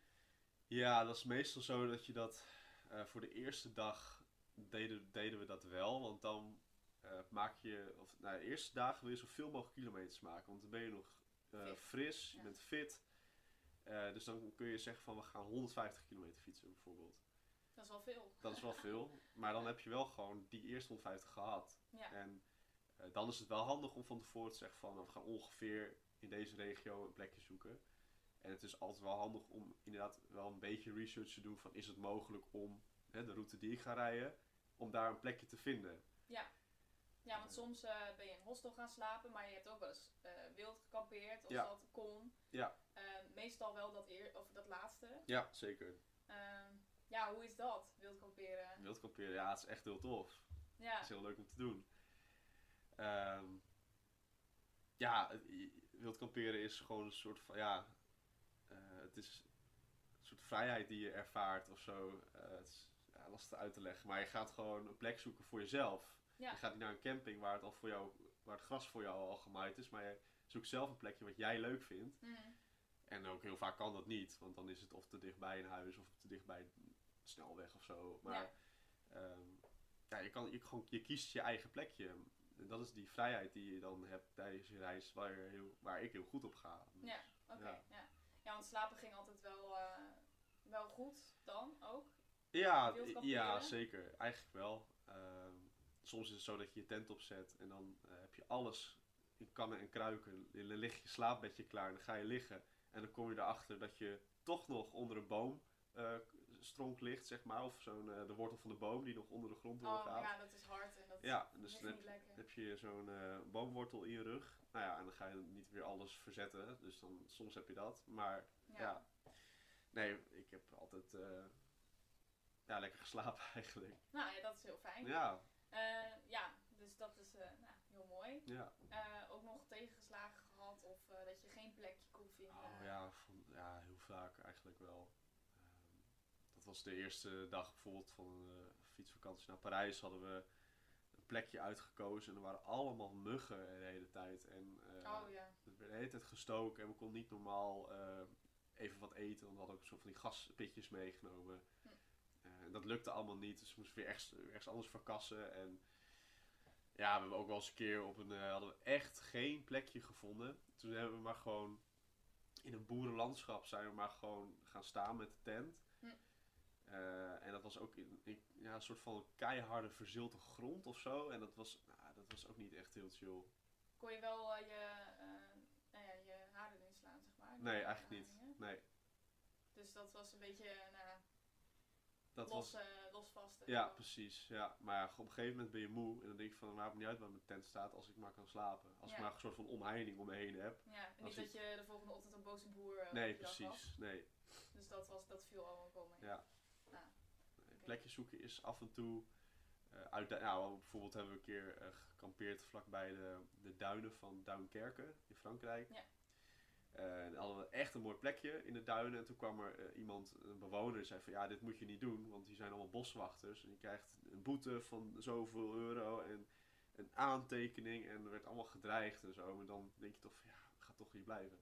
B: Ja, dat is meestal zo dat je dat eh, voor de eerste dag deden, deden we dat wel. Want dan eh, maak je, of nou, de eerste dagen wil je zoveel mogelijk kilometers maken. Want dan ben je nog eh,
A: Fit.
B: fris, je
A: Ja.
B: bent fit. Eh, dus dan kun je zeggen van we gaan 150 kilometer fietsen bijvoorbeeld.
A: Dat is wel veel.
B: Dat is wel veel. Maar dan heb je wel gewoon die eerste 150 gehad.
A: Ja.
B: En eh, dan is het wel handig om van tevoren te zeggen van nou, we gaan ongeveer in deze regio een plekje zoeken. En het is altijd wel handig om inderdaad wel een beetje research te doen van is het mogelijk om hè, de route die ik ga rijden, om daar een plekje te vinden.
A: Ja, want soms eh, ben je in een hostel gaan slapen, maar je hebt ook wel eens eh, wild gekampeerd als
B: Ja.
A: dat kon.
B: Ja.
A: Ehm, meestal wel dat, eer, of dat laatste.
B: Ja, zeker.
A: Ehm, ja, hoe is dat, wild kamperen?
B: Wildkamperen, ja, het is echt heel tof.
A: Ja,
B: Dat is heel leuk om te doen. Ehm, ja, het- i- wild kamperen is gewoon een soort van, ja, eh, het is een soort vrijheid die je ervaart of zo. Eh, het is ja, lastig uit te leggen, maar je gaat gewoon een plek zoeken voor jezelf.
A: Ja.
B: Je gaat niet naar een camping waar het, al voor jou, waar het gras voor jou al gemaaid is, maar je zoekt zelf een plekje wat jij leuk vindt.
A: Mm,
B: En ook heel vaak kan dat niet, want dan is het of te dichtbij een huis of te dichtbij een snelweg of zo. Maar
A: Ja.
B: ehm, ja, je, kan, je, gewoon, je kiest je eigen plekje. En dat is die vrijheid die je dan hebt tijdens je reis waar, je heel, waar ik heel goed op ga. Dus,
A: Ja. oké.
B: Ja.
A: Ja. ja, want slapen ging altijd wel, eh, wel goed dan ook.
B: Ja,
A: Wild
B: i-
A: kamperen?
B: ja, zeker. Eigenlijk wel. Ehm, soms is het zo dat je je tent opzet en dan eh, heb je alles in kannen en kruiken. En Dan ligt je slaapbedje klaar en dan ga je liggen. En dan kom je erachter dat je toch nog onder een boom eh, stronk ligt, zeg maar. Of zo'n, eh, de wortel van de boom die nog onder de grond
A: Oh
B: doorgaat.
A: ja, dat is hard en dat
B: Ja,
A: is
B: dus
A: echt
B: dan heb,
A: niet lekker.
B: heb je zo'n eh, boomwortel in je rug. Nou ja, en dan ga je niet weer alles verzetten. Dus dan, soms heb je dat. Maar ja.
A: ja.
B: nee, ik heb altijd eh, ja, lekker geslapen eigenlijk.
A: Nou ja, dat is heel fijn.
B: Ja,
A: Eh, ja, dus dat is eh, nou, heel mooi.
B: ja.
A: Eh, ook nog tegengeslagen gehad of eh, dat je geen plekje kon vinden.
B: Oh, ja, van, ja, heel vaak eigenlijk wel. Ehm, dat was de eerste dag bijvoorbeeld van een eh, fietsvakantie naar Parijs. Hadden we een plekje uitgekozen en er waren allemaal muggen de hele tijd. En, eh,
A: Oh ja.
B: Het werd de hele tijd gestoken en we konden niet normaal eh, even wat eten. Want we hadden ook een soort van die gaspitjes meegenomen.
A: Hm.
B: Eh, en dat lukte allemaal niet, dus we moesten weer ergens, ergens anders verkassen. En ja, we hebben ook wel eens een keer op een... eh, hadden we echt geen plekje gevonden. Toen hebben we maar gewoon... In een boerenlandschap zijn we maar gewoon gaan staan met de tent.
A: Hm.
B: Eh, en dat was ook in, in- ja, een soort van keiharde verzilte grond of zo. En dat was, nou, dat was ook niet echt heel chill.
A: Kon je wel eh, je, eh, nou ja, je haren erin slaan, zeg maar?
B: Nee, eigenlijk niet.
A: Aanhangen.
B: Nee,
A: Dus dat was een beetje eh, nou, ja,
B: dat was
A: los, eh, losvast. en
B: Ja,
A: zo.
B: precies. Ja. Maar ja, op een gegeven moment ben je moe en dan denk je van, maakt me niet uit waar mijn tent staat als ik maar kan slapen. Als ik
A: Ja.
B: maar een soort van omheining om me heen heb.
A: Ja, en
B: Als
A: niet
B: je-
A: dat je de volgende ochtend een boze boer eh,
B: Nee,
A: op je dag had.
B: precies. Nee.
A: Dus dat, was, dat viel allemaal wel mee.
B: Ja. Een plekje zoeken is af en toe eh uit. Nou, bijvoorbeeld hebben we een keer eh, gekampeerd vlakbij de, de duinen van Duinkerken in Frankrijk.
A: Ja.
B: Eh, en hadden we echt een mooi plekje in de duinen. En toen kwam er eh, iemand, een bewoner, die zei van ja, dit moet je niet doen, want die zijn allemaal boswachters. En je krijgt een boete van zoveel euro en een aantekening. En er werd allemaal gedreigd en zo. Maar dan denk je toch van ja, ik ga toch hier blijven.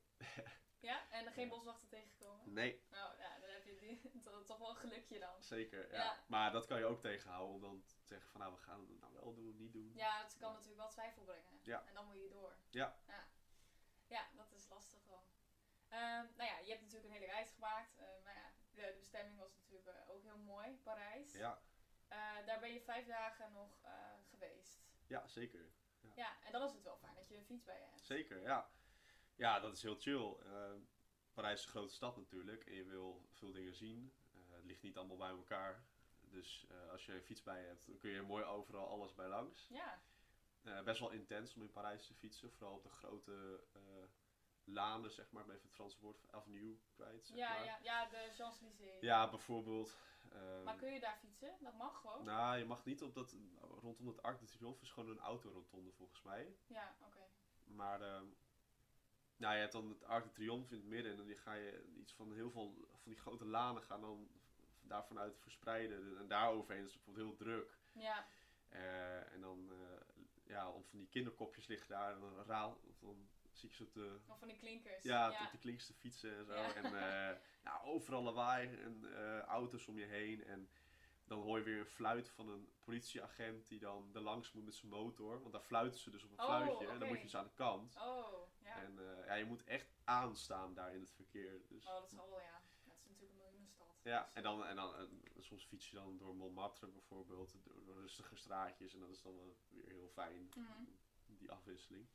A: Ja? En dan geen boswachter tegengekomen?
B: Nee,
A: Nou, ja, dan heb je die, toch, toch wel een gelukje dan.
B: zeker. Ja.
A: Ja.
B: Maar dat kan je ook tegenhouden om dan te zeggen van nou we gaan het nou wel doen, niet doen.
A: Ja, het kan natuurlijk wel twijfel brengen.
B: Ja.
A: En dan moet je door.
B: Ja.
A: Ja, Ja, dat is lastig wel. Ehm, nou ja, je hebt natuurlijk een hele reis gemaakt. Eh, nou ja, de, de bestemming was natuurlijk eh, ook heel mooi, Parijs.
B: Ja,
A: Eh, daar ben je vijf dagen nog eh, geweest.
B: ja zeker.
A: Ja, en dan is het wel fijn dat je een fiets bij je hebt.
B: Zeker, ja. Ja, dat is heel chill. Eh, Parijs is een grote stad natuurlijk en je wil veel dingen zien. Eh, het ligt niet allemaal bij elkaar. Dus eh, als je een fiets bij je hebt, dan kun je mooi overal alles bij langs.
A: Ja,
B: Eh, best wel intens om in Parijs te fietsen, vooral op de grote eh, lanen, zeg maar. Ik ben even het Franse woord voor avenue kwijt, zeg
A: ja,
B: maar.
A: ja, ja, de Champs-Élysées.
B: Ja, bijvoorbeeld. ehm,
A: Maar kun je daar fietsen? Dat mag gewoon.
B: Nou, je mag niet op dat, rondom dat Arc de Triomphe is gewoon een autorotonde volgens mij.
A: Ja, oké.
B: Maar ehm, nou, je hebt dan het Arc de Triomphe in het midden en dan ga je iets van heel veel van die grote lanen gaan dan daarvan uit verspreiden. En daar overheen is het bijvoorbeeld heel druk.
A: Ja,
B: Eh, en dan, eh, ja, om van die kinderkopjes liggen daar en dan raal, dan zie ik ze op de,
A: of van die klinkers.
B: ja, op de klinkste fietsen en zo.
A: Ja.
B: En eh, ja, overal lawaai en eh, auto's om je heen. En dan hoor je weer een fluit van een politieagent die dan er langs moet met zijn motor. Want daar fluiten ze dus op een
A: Oh,
B: fluitje en dan
A: oké.
B: moet je dus aan de kant.
A: Oh, ja.
B: En eh, ja, je moet echt aanstaan daar in het verkeer. Dus,
A: Oh, dat zal wel, ja. Het is natuurlijk een miljoenenstad.
B: ja, en dan, en dan en soms fiets je dan door Montmartre bijvoorbeeld, door, door rustige straatjes. En dat is dan wel weer heel fijn,
A: Mhm.
B: die afwisseling.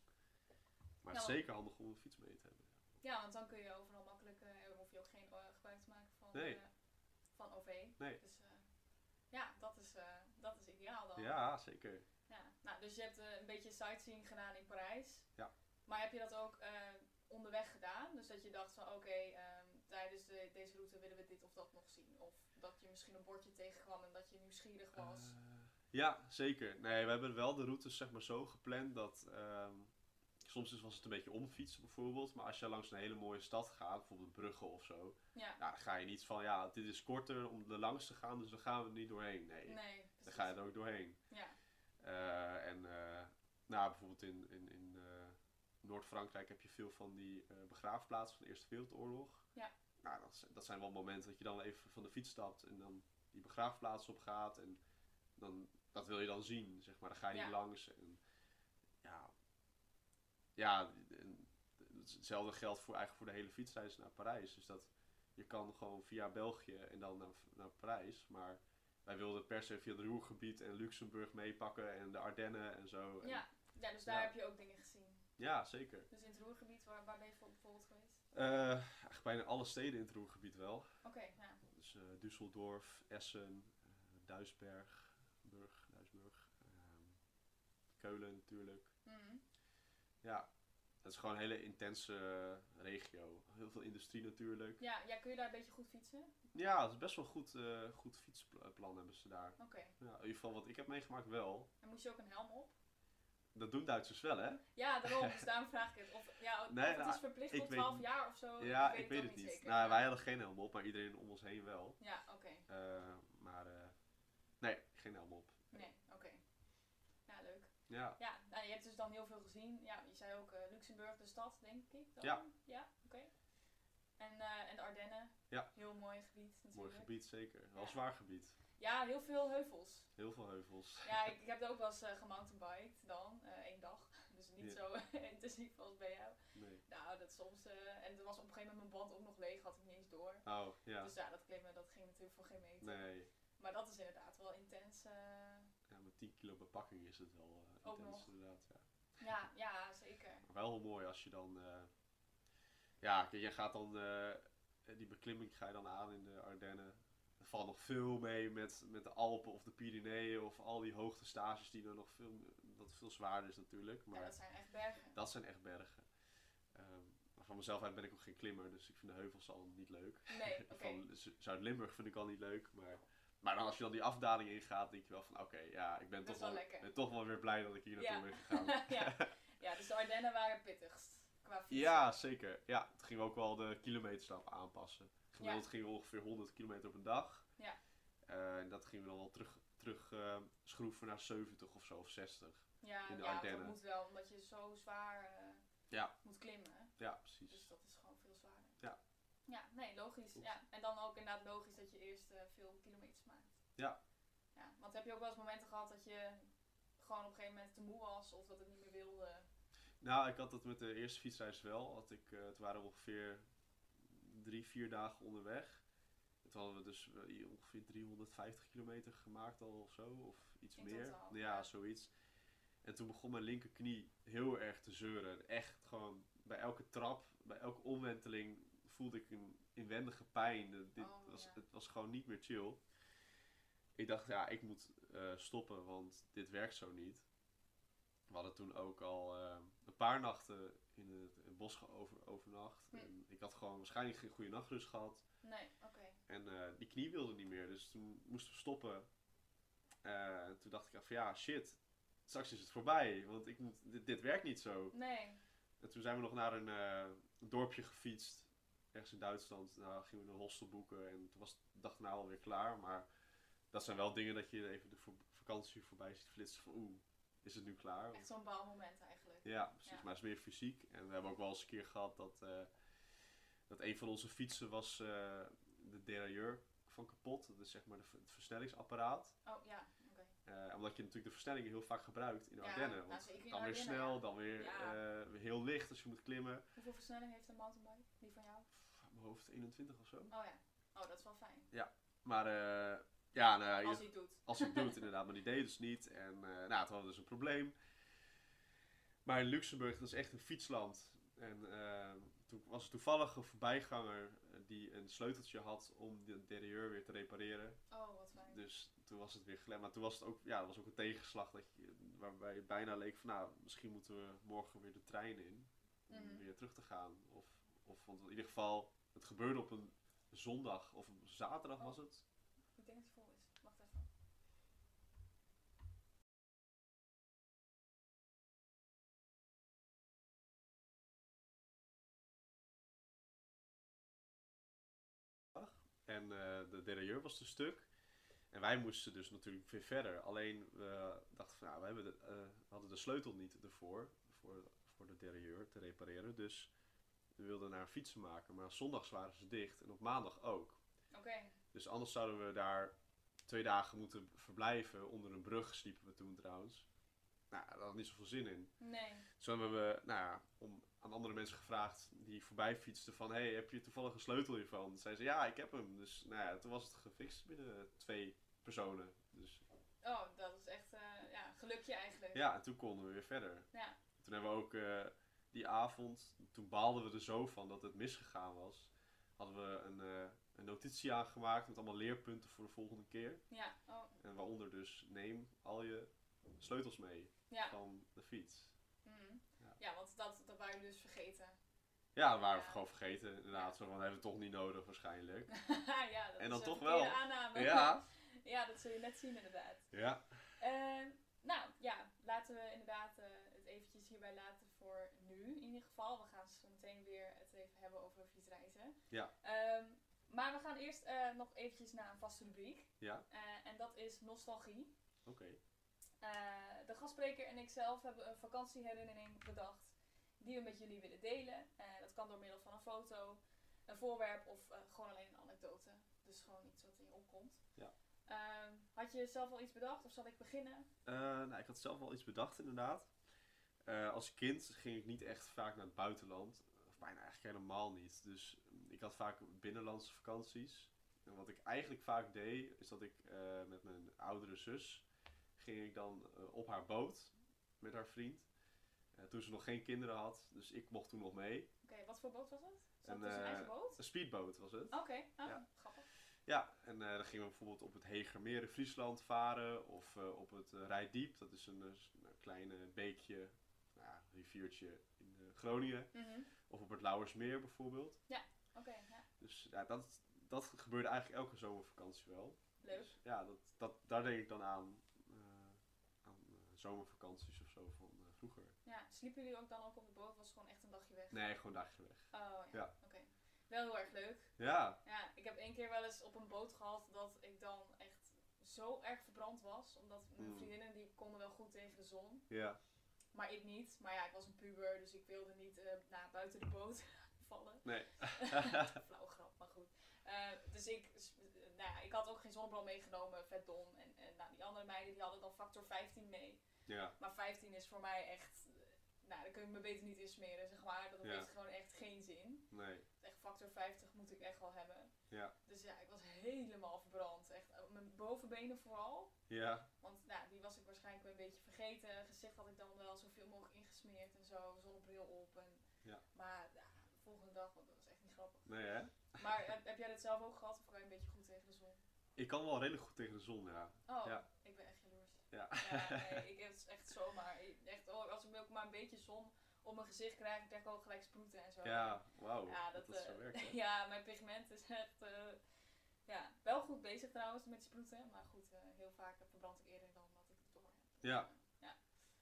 B: Maar
A: Nou,
B: het is zeker handig om een fiets mee te hebben.
A: Ja, want dan kun je overal makkelijk, eh, en hoef je ook geen eh, gebruik te maken van,
B: Nee.
A: eh, van OV.
B: Nee.
A: Dus eh, ja, dat is, eh, dat is ideaal dan.
B: Ja, zeker.
A: Ja. Nou, dus je hebt eh, een beetje sightseeing gedaan in Parijs.
B: Ja.
A: Maar heb je dat ook eh, onderweg gedaan? Dus dat je dacht van oké, ehm, tijdens de, deze route willen we dit of dat nog zien. Of dat je misschien een bordje tegenkwam en dat je nieuwsgierig was.
B: Eh, ja, zeker. Nee, we hebben wel de routes zeg maar, zo gepland dat... ehm, soms is- was het een beetje omfietsen bijvoorbeeld. Maar als je langs een hele mooie stad gaat, bijvoorbeeld Brugge of zo...
A: ja.
B: Nou, dan ga je niet van, ja, dit is korter om er langs te gaan, dus dan gaan we er niet doorheen. Nee,
A: Nee, precies.
B: dan ga je er ook doorheen.
A: Ja.
B: Eh, en eh, nou, bijvoorbeeld in, in, in eh, Noord-Frankrijk heb je veel van die eh, begraafplaatsen van de Eerste Wereldoorlog.
A: Ja.
B: Nou, dat, zijn- dat zijn wel momenten dat je dan even van de fiets stapt en dan die begraafplaats op gaat. En dan, dat wil je dan zien, zeg maar. Dan ga je
A: Ja.
B: niet langs. En, ja, ja en het- hetzelfde geldt voor, eigenlijk voor de hele fietsreis naar Parijs. Dus dat je kan gewoon via België en dan naar, naar Parijs. Maar wij wilden per se via het Ruhrgebied en Luxemburg meepakken en de Ardennen en zo. En-
A: Ja. ja, dus daar
B: Ja.
A: heb je ook dingen gezien.
B: ja, zeker.
A: Dus in het Roergebied, waar, waar ben je voor- bijvoorbeeld geweest?
B: Eh, eigenlijk bijna alle steden in het Ruhrgebied wel.
A: Oké, ja.
B: Dus eh, Düsseldorf, Essen, eh, Duisberg, Burg, Duisburg, ehm, Keulen natuurlijk.
A: Mhm.
B: Ja, het is gewoon een hele intense eh, regio. Heel veel industrie natuurlijk.
A: Ja, ja, kun je daar een beetje goed fietsen?
B: Ja, het is best wel een goed, eh, goed fietsplan hebben ze daar.
A: Oké.
B: Ja, Nou, in ieder geval wat ik heb meegemaakt wel.
A: En moest je ook een helm op?
B: Dat doen Duitsers wel, hè?
A: Ja, daarom. Dus daarom vraag ik het. Of, ja, of
B: Nee,
A: het
B: nou,
A: is verplicht
B: ik
A: tot
B: weet
A: 12
B: niet.
A: jaar of zo.
B: Ja, ik weet het niet.
A: zeker.
B: Nou, wij hadden geen helm op, maar iedereen om ons heen wel.
A: Ja, oké.
B: Eh, maar eh, nee, geen helm op.
A: Nee, oké. Ja, leuk.
B: Ja,
A: Ja, nou, je hebt dus dan heel veel gezien. Ja, je zei ook eh, Luxemburg, de stad, denk ik dan.
B: Ja.
A: Ja, oké. En, eh, en de Ardennen.
B: Ja.
A: Heel mooi gebied natuurlijk.
B: mooi gebied zeker. Wel
A: Ja.
B: zwaar gebied.
A: Ja, heel veel heuvels.
B: Heel veel heuvels.
A: Ja, ik, ik heb er ook wel eens eh, gemountainbiked dan, eh, één dag. Dus niet
B: Ja.
A: zo intensief als bij jou.
B: Nee.
A: Nou, dat soms. eh, en er was op een gegeven moment mijn band ook nog leeg, had ik niet eens door.
B: Oh, ja.
A: Dus ja, dat klimmen, dat ging natuurlijk voor geen meter.
B: Nee.
A: Maar dat is inderdaad wel intens. eh,
B: Ja, met 10 kilo bepakking is het wel eh,
A: Ook
B: intens
A: nog.
B: inderdaad. Ja.
A: ja, ja, zeker.
B: Maar wel heel mooi als je dan... eh, ja, kijk, je gaat dan... eh, die beklimming ga je dan aan in de Ardennen. Er valt nog veel mee met, met de Alpen of de Pyreneeën of al die hoogtestages die er nog veel, dat veel zwaarder is natuurlijk.
A: Ja,
B: Maar
A: dat zijn echt bergen.
B: dat zijn echt bergen. Ehm, maar van mezelf uit ben ik ook geen klimmer, dus ik vind de heuvels al niet leuk.
A: Nee, oké.
B: Van Z- Zuid-Limburg vind ik al niet leuk, maar... Maar dan als je dan die afdaling ingaat, denk je wel van oké, ja, ik ben
A: Dat is
B: toch
A: wel
B: wel,
A: lekker.
B: ben toch wel weer blij dat ik hier naartoe
A: Ja.
B: ben gegaan.
A: ja. ja, dus de Ardennen waren het pittigst qua fietsen.
B: Ja, zeker. Ja, toen gingen we ook wel de kilometerstap aanpassen. Gemiddeld gingen we ongeveer 100 kilometer op een dag.
A: Ja.
B: Eh, en dat gingen we dan wel terug, terug eh, schroeven naar 70 of zo, of 60.
A: ja,
B: in de
A: ja,
B: Ardennen.
A: dat moet wel, omdat je zo zwaar eh,
B: Ja.
A: moet klimmen.
B: Ja, precies.
A: Dus dat is Dus gewoon veel zwaarder.
B: Ja.
A: Ja, nee, logisch.
B: Oeps.
A: Ja. En dan ook inderdaad logisch dat je eerst eh, veel kilometers maakt.
B: Ja.
A: ja. Want heb je ook wel eens momenten gehad dat je gewoon op een gegeven moment te moe was of dat het niet meer wilde?
B: Nou, ik had dat met de eerste fietsreis wel. Had ik, eh, het waren ongeveer drie, vier dagen onderweg. Het hadden we dus eh, i- ongeveer 350 kilometer gemaakt al of zo, of iets
A: In
B: meer.
A: totaal,
B: ja,
A: ja.
B: zoiets. En toen begon mijn linkerknie heel erg te zeuren. Echt gewoon bij elke trap, bij elke omwenteling voelde ik een inwendige pijn. Eh, Dit
A: Oh,
B: was,
A: ja.
B: Het was gewoon niet meer chill. Ik dacht, ja, ik moet eh, stoppen, want dit werkt zo niet. We hadden toen ook al eh, een paar nachten in het, in het bos geover, overnacht.
A: Hm.
B: En ik had gewoon waarschijnlijk geen goede nachtrust gehad.
A: Nee, oké.
B: En eh, die knie wilde niet meer, dus toen moesten we stoppen. Eh, en toen dacht ik van ja, shit, straks is het voorbij, want ik moet, dit, dit werkt niet zo.
A: Nee.
B: En toen zijn we nog naar een eh, dorpje gefietst, ergens in Duitsland. Nou, gingen we een hostel boeken en toen was de dag na alweer klaar. Maar dat zijn wel dingen dat je even de vo- vakantie voorbij ziet flitsen van oeh, is het nu klaar?
A: Echt zo'n baalmoment eigenlijk.
B: Ja, precies.
A: Ja.
B: Maar het is meer fysiek. En we hebben ook wel eens een keer gehad dat, eh, dat een van onze fietsen was eh, de derailleur van kapot. Dat is zeg maar de, v- het versnellingsapparaat.
A: Oh ja, oké.
B: Eh, omdat je natuurlijk de versnellingen heel vaak gebruikt in de
A: Ja,
B: Ardennen.
A: nou,
B: Want
A: zeker in
B: dan weer
A: Ardennen,
B: snel,
A: ja.
B: dan weer
A: Ja.
B: eh, weer heel licht als je moet klimmen.
A: Hoeveel versnelling heeft een mountainbike? Die van jou?
B: Pff, uit Mijn hoofd 21 of zo.
A: Oh ja. Oh, dat is wel fijn.
B: Maar eh, ja, nou, ja, je-
A: Als hij het doet.
B: Als ik doet, inderdaad. Maar die deed het dus niet. En eh nou, toen hadden we dus een probleem. Maar in Luxemburg, dat is echt een fietsland. En eh, toen was er toevallig een voorbijganger eh, die een sleuteltje had om de derailleur weer te repareren.
A: Oh, wat fijn.
B: Dus toen was het weer glam. Maar toen was het ook, ja, er was ook een tegenslag dat je, waarbij het bijna leek van, nou, misschien moeten we morgen weer de trein in om
A: Mhm.
B: weer terug te gaan. Of, of want in ieder geval, het gebeurde op een zondag of op zaterdag was het.
A: Ik denk dat het vol is. Wacht even.
B: En eh, de derailleur was te stuk. En wij moesten dus natuurlijk weer verder. Alleen we dachten van, nou, we hebben de, eh, we hadden de sleutel niet ervoor. Voor, voor de derailleur te repareren. Dus we wilden naar een fietsenmaker. Maar zondags waren ze dicht. En op maandag ook.
A: Oké.
B: Dus anders zouden we daar twee dagen moeten verblijven. Onder een brug sliepen we toen trouwens. Nou, daar hadden we niet zoveel zin in.
A: Nee.
B: Zo hebben we nou ja, om, aan andere mensen gevraagd die voorbij fietsten van... Hey, heb je toevallig een sleutel hiervan? Toen zei ze, ja, ik heb hem. Dus nou ja, toen was het gefixt binnen twee personen. Dus
A: Oh, dat is echt eh, ja, gelukje eigenlijk.
B: ja, en toen konden we weer verder.
A: Ja.
B: Toen hebben we ook eh, die avond, toen baalden we er zo van dat het misgegaan was... hadden we een, eh, een notitie aangemaakt met allemaal leerpunten voor de volgende keer.
A: Ja, oh,
B: En waaronder dus, neem al je sleutels mee
A: ja.
B: van de fiets.
A: Mm.
B: Ja.
A: ja. want dat, dat waren jullie dus vergeten.
B: Ja, dat waren we
A: Ja.
B: gewoon vergeten. Inderdaad, zo van, hebben we toch niet nodig waarschijnlijk.
A: ja, dat
B: En dan
A: is een
B: toch
A: verkeerde
B: wel.
A: aanname.
B: Ja.
A: ja, dat zul je net zien inderdaad.
B: Ja.
A: Eh, nou ja, laten we inderdaad eh, het eventjes hierbij laten voor nu in ieder geval. We gaan zo meteen weer het even hebben over fietsreizen.
B: Ja.
A: Ehm, maar we gaan eerst eh, nog eventjes naar een vaste rubriek.
B: Ja.
A: Eh, en dat is nostalgie.
B: Oké.
A: Eh, de gastspreker en ik zelf hebben een vakantieherinnering bedacht die we met jullie willen delen. Eh, dat kan door middel van een foto, een voorwerp of eh, gewoon alleen een anekdote. Dus gewoon iets wat in je opkomt.
B: Ja.
A: Ehm, had je zelf al iets bedacht of zal ik beginnen?
B: Eh, nou, ik had zelf wel iets bedacht, inderdaad. Eh, als kind ging ik niet echt vaak naar het buitenland. Of bijna eigenlijk helemaal niet. Dus mm, ik had vaak binnenlandse vakanties. En wat ik eigenlijk vaak deed, is dat ik eh, met mijn oudere zus ging ik dan eh, op haar boot met haar vriend. Eh, toen ze nog geen kinderen had, dus ik mocht toen nog mee.
A: Oké, wat voor boot was het? Zat
B: Een,
A: het een
B: eh,
A: eigen boot?
B: Een speedboot was het.
A: Oké, ah,
B: ja.
A: grappig.
B: Ja, en eh, dan gingen we bijvoorbeeld op het Hegermeer in Friesland varen of eh, op het eh, Rijdiep, dat is een, eh, s- een klein eh, beekje, nou, ja, riviertje in eh, Groningen,
A: Mhm.
B: of op het Lauwersmeer bijvoorbeeld.
A: Oké, ja.
B: Dus ja, dat, dat gebeurde eigenlijk elke zomervakantie wel.
A: leuk.
B: Dus, ja, dat, dat, daar denk ik dan aan, eh, aan eh, zomervakanties of zo van eh, vroeger.
A: Ja, sliepen jullie ook dan ook op de boot? Was het gewoon echt een dagje weg?
B: Nee, gewoon een dagje weg.
A: Oh ja,
B: Ja.
A: oké. Wel heel erg leuk.
B: Ja,
A: Ja, ik heb één keer wel eens op een boot gehad dat ik dan echt zo erg verbrand was. Omdat mijn
B: Mm.
A: vriendinnen die konden wel goed tegen de zon,
B: ja,
A: maar ik niet. Maar ja, ik was een puber, dus ik wilde niet eh, nou, buiten de boot vallen.
B: nee.
A: Flauw grap. Eh, dus ik, s- eh, nou ja, ik had ook geen zonnebril meegenomen, vet dom. En, en nou, die andere meiden die hadden dan factor 15 mee.
B: Ja,
A: Maar 15 is voor mij echt, eh, nou, daar kun je me beter niet in smeren, zeg maar. Dat
B: Ja.
A: heeft gewoon echt geen zin.
B: nee.
A: Echt factor 50 moet ik echt wel hebben.
B: Ja.
A: Dus ja, ik was helemaal verbrand. Echt, eh, mijn bovenbenen vooral.
B: Ja,
A: Want nou, die was ik waarschijnlijk wel een beetje vergeten. Gezicht had ik dan wel zoveel mogelijk ingesmeerd en zo, zonnebril op. En,
B: Ja.
A: Maar ja, de volgende dag, want dat was echt niet grappig.
B: nee hè?
A: Maar heb, heb jij dit zelf ook gehad of kan je een beetje goed tegen de zon?
B: Ik kan wel redelijk goed tegen de zon, ja.
A: Oh,
B: Ja.
A: ik ben echt jaloers.
B: Ja.
A: nee, ik heb het echt zomaar. Echt, oh, als ik ook maar een beetje zon op mijn gezicht krijg, dan krijg ik ook gelijk sproeten en zo.
B: Ja, wauw.
A: Ja,
B: dat
A: dat,
B: dat zo
A: eh,
B: werkt, hè?
A: ja, mijn pigment is echt. eh, ja, wel goed bezig trouwens met sproeten. Maar goed, eh, heel vaak verbrand ik eerder dan dat ik het door heb.
B: Ja.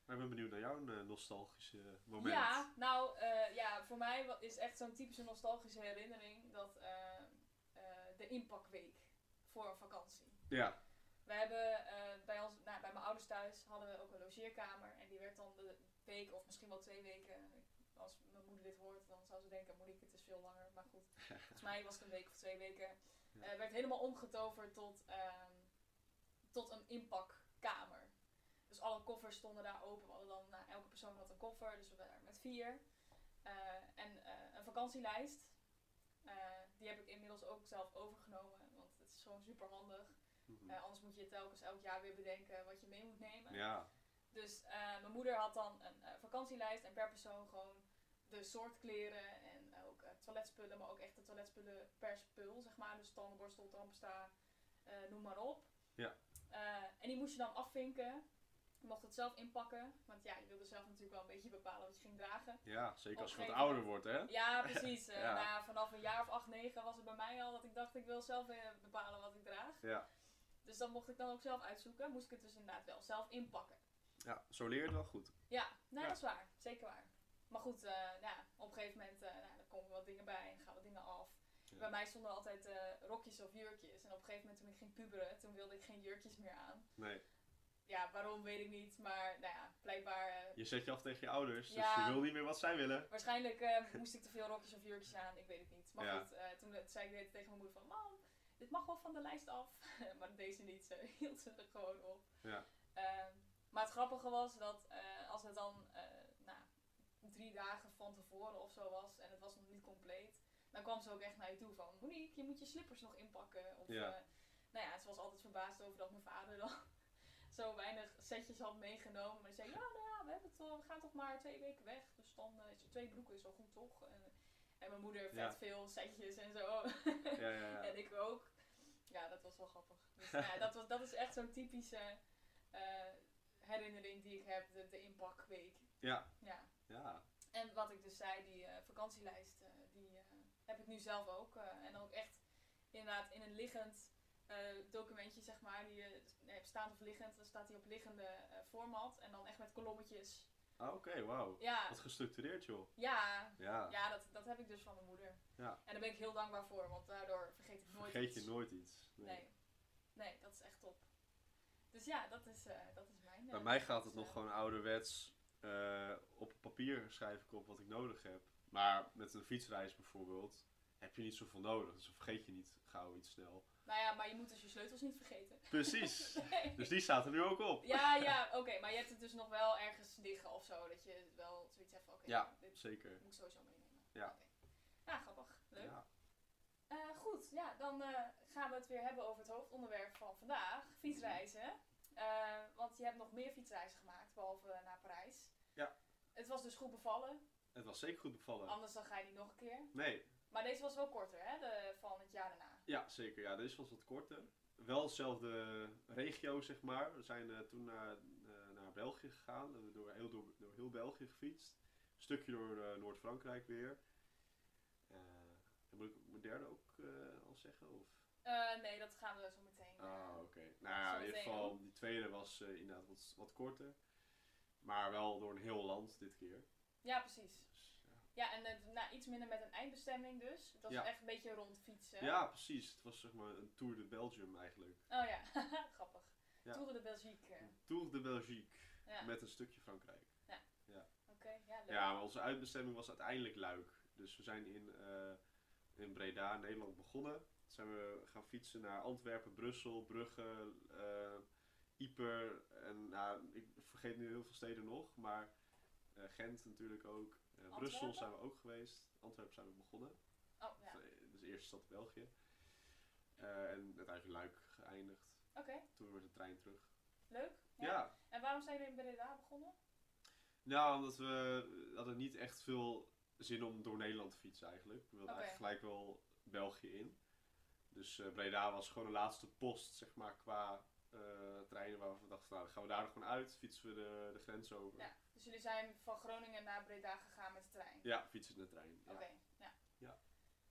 B: Maar ik ben benieuwd naar jouw eh, nostalgische moment.
A: Ja, nou eh, ja, voor mij wa- is echt zo'n typische nostalgische herinnering dat eh, eh, de inpakweek voor een vakantie.
B: Ja,
A: We hebben eh, bij, ons, nou, bij mijn ouders thuis hadden we ook een logeerkamer. En die werd dan de week of misschien wel twee weken. Als mijn moeder dit hoort, dan zou ze denken, Monique, het is veel langer. Maar goed, volgens mij was het een week of twee weken.
B: Ja.
A: Eh, werd helemaal omgetoverd tot, ehm, tot een inpakkamer. Dus alle koffers stonden daar open. We hadden dan, nou, elke persoon had een koffer, dus we waren met vier. Eh, en eh, een vakantielijst. Eh, die heb ik inmiddels ook zelf overgenomen, want het is gewoon super handig.
B: Mhm.
A: Eh, anders moet je telkens elk jaar weer bedenken wat je mee moet nemen.
B: ja,
A: Dus eh, mijn moeder had dan een eh, vakantielijst en per persoon gewoon de soort kleren en ook eh, toiletspullen, maar ook echt de toiletspullen per spul, zeg maar. Dus tandenborstel, tandpasta, eh, noem maar op.
B: Ja.
A: Eh, en die moest je dan afvinken. Je mocht het zelf inpakken, want ja, je wilde zelf natuurlijk wel een beetje bepalen wat je ging dragen.
B: ja, zeker als je wat
A: Opgeven.
B: ouder wordt, hè?
A: Ja, precies. Eh,
B: Ja.
A: na- vanaf een jaar of acht, negen was het bij mij al dat ik dacht, ik wil zelf eh, bepalen wat ik draag.
B: Ja.
A: Dus dan mocht ik dan ook zelf uitzoeken. Moest ik het dus inderdaad wel zelf inpakken.
B: Ja, zo leer je het wel goed.
A: Ja, nou
B: Ja.
A: dat is waar. Zeker waar. Maar goed, eh, nou ja, op een gegeven moment eh nou, er komen wat dingen bij en gaan wat dingen af.
B: Ja.
A: Bij mij stonden altijd eh, rokjes of jurkjes. En op een gegeven moment toen ik ging puberen, toen wilde ik geen jurkjes meer aan.
B: Nee,
A: Ja, waarom weet ik niet. Maar nou ja, blijkbaar... eh,
B: je zet je af tegen je ouders, dus
A: Ja.
B: je wil niet meer wat zij willen.
A: Waarschijnlijk eh, moest ik te veel rokjes of jurkjes aan, ik weet het niet. Maar
B: Ja.
A: goed, eh, toen zei ik dit tegen mijn moeder van, mam, dit mag wel van de lijst af. maar deze niet, ze hield ze er gewoon op.
B: Ja.
A: Ehm, maar het grappige was dat eh, als het dan eh, nou, drie dagen van tevoren of zo was en het was nog niet compleet, dan kwam ze ook echt naar je toe van, Monique, je moet je slippers nog inpakken. Of,
B: Ja.
A: eh, nou ja, ze was altijd verbaasd over dat mijn vader dan zo weinig setjes had meegenomen. Maar ze zei, ja, nou ja, we, hebben het, wel- we gaan toch maar twee weken weg. Dus dan eh, is twee broeken is wel goed, toch? En, en mijn moeder vet
B: Ja.
A: veel setjes en zo.
B: Ja, ja, ja.
A: en ik ook. Ja, dat was wel grappig. Dus, nou ja, dat, was, dat is echt zo'n typische eh, herinnering die ik heb, de, de inpakweek.
B: Ja.
A: ja.
B: Ja,
A: En wat ik dus zei, die eh, vakantielijst, eh, die eh, heb ik nu zelf ook. eh, en ook echt inderdaad in een liggend eh, documentje, zeg maar, die je hebt staand of liggend, dan staat die op liggende eh, format. En dan echt met kolommetjes.
B: Ah, oké, wauw.
A: Ja,
B: Wat gestructureerd, joh.
A: ja,
B: Ja,
A: ja dat, dat heb ik dus van mijn moeder.
B: Ja.
A: En daar ben ik heel dankbaar voor, want daardoor vergeet ik nooit
B: vergeet je
A: iets.
B: nooit iets. Nee.
A: Nee. nee, dat is echt top. Dus ja, dat is, eh, dat is mijn...
B: Bij
A: eh,
B: mij gaat het
A: dus,
B: nog
A: eh,
B: gewoon ouderwets. eh, op papier schrijf ik op wat ik nodig heb. Maar met een fietsreis bijvoorbeeld heb je niet zoveel nodig. Dus dan vergeet je niet gauw iets snel.
A: Nou ja, maar je moet dus je sleutels niet vergeten.
B: Precies.
A: Nee.
B: Dus die staat er nu ook op.
A: Ja, ja, oké, maar je hebt het dus nog wel ergens liggen of zo, dat je wel zoiets hebt van, oké,
B: Ja.
A: dit
B: Zeker.
A: moet ik sowieso meenemen.
B: Ja.
A: Oké. Ja, grappig. Leuk.
B: Ja.
A: Eh, goed, ja, dan eh, gaan we het weer hebben over het hoofdonderwerp van vandaag, fietsreizen. Eh, want je hebt nog meer fietsreizen gemaakt, behalve naar Parijs.
B: Ja.
A: Het was dus goed bevallen,
B: Het was zeker goed bevallen.
A: anders dan ga je niet nog een keer.
B: Nee.
A: Maar deze was wel korter, hè, de, van het jaar daarna.
B: Ja, zeker. Ja, deze was wat korter. Wel dezelfde regio, zeg maar. We zijn eh, toen naar, eh, naar België gegaan. We hebben door heel, door, door heel België gefietst. Een stukje door eh, Noord-Frankrijk weer. Eh, en moet ik mijn derde ook eh, al zeggen? Of?
A: Eh, nee, dat gaan we zo meteen. eh,
B: Ah, oké. Nou ja, in ieder
A: Zometeen.
B: geval, die tweede was eh, inderdaad wat, wat korter. Maar wel door een heel land dit keer.
A: Ja, precies.
B: Dus,
A: Ja, en eh, nou, iets minder met een eindbestemming dus. Het was
B: Ja.
A: echt een beetje rond fietsen.
B: ja. ja, precies. Het was zeg maar een Tour de Belgium eigenlijk.
A: Oh ja, grappig.
B: Ja.
A: Tour de Belgique. eh.
B: Een Tour de Belgique
A: Ja,
B: met een stukje Frankrijk.
A: oké. Ja, leuk.
B: Ja, maar onze uitbestemming was uiteindelijk Luik. Dus we zijn in, eh, in Breda, Nederland begonnen. zijn we gaan fietsen naar Antwerpen, Brussel, Brugge, eh Ieper. En nou, ik vergeet nu heel veel steden nog, maar eh, Gent natuurlijk ook. Eh, Brussel zijn we ook geweest. Antwerpen zijn we begonnen.
A: Oh, ja.
B: Dus, eh, Dus de eerste stad België. Eh, en uiteindelijk Luik geëindigd.
A: Oké,
B: Toen weer met de trein terug.
A: leuk.
B: Ja.
A: En waarom zijn jullie in Breda begonnen?
B: nou omdat we hadden niet echt veel zin om door Nederland te fietsen eigenlijk. We wilden
A: Oké.
B: eigenlijk gelijk wel België in. Dus eh, Breda was gewoon de laatste post, zeg maar, qua eh, treinen waar we dachten, nou dan gaan we daar nog gewoon uit, fietsen we de, de grens over.
A: Ja. Dus jullie zijn van Groningen naar Breda gegaan met de trein?
B: Ja, fietsen de trein. Ja.
A: Oké, ja.
B: Ja.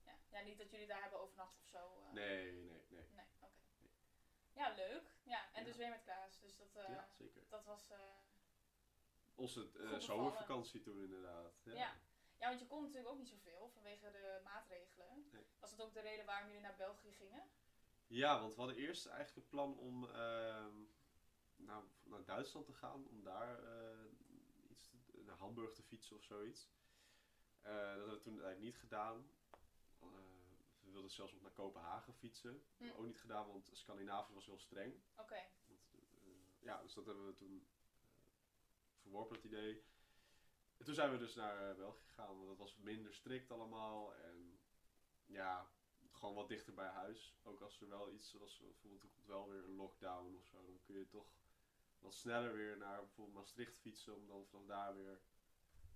A: ja. Ja, niet dat jullie daar hebben overnacht of zo. eh.
B: Nee, nee, nee.
A: Nee, oké. Ja, leuk. Ja, en
B: Ja.
A: dus weer met Klaas. Dus dat, eh,
B: ja, zeker.
A: dat was... eh,
B: Onze eh,
A: bevallen.
B: zomervakantie toen inderdaad. Ja.
A: Ja. Ja, want je kon natuurlijk ook niet zoveel vanwege de maatregelen.
B: Nee.
A: Was dat ook de reden waarom jullie naar België gingen?
B: Ja, want we hadden eerst eigenlijk het plan om ehm, nou, naar Duitsland te gaan, om daar eh, iets te- naar Hamburg te fietsen of zoiets. Eh, dat hebben we toen eigenlijk niet gedaan. Eh, we wilden zelfs nog naar Kopenhagen fietsen. Dat hebben we
A: Hm.
B: ook niet gedaan, want Scandinavië was heel streng.
A: Oké,
B: Want, eh, ja, dus dat hebben we toen eh, verworpen, dat idee. En toen zijn we dus naar eh, België gegaan, want dat was minder strikt allemaal. En ja, gewoon wat dichter bij huis. Ook als er wel iets, als er bijvoorbeeld er komt wel weer een lockdown of zo, dan kun je toch wat sneller weer naar bijvoorbeeld Maastricht fietsen, om dan vanaf daar weer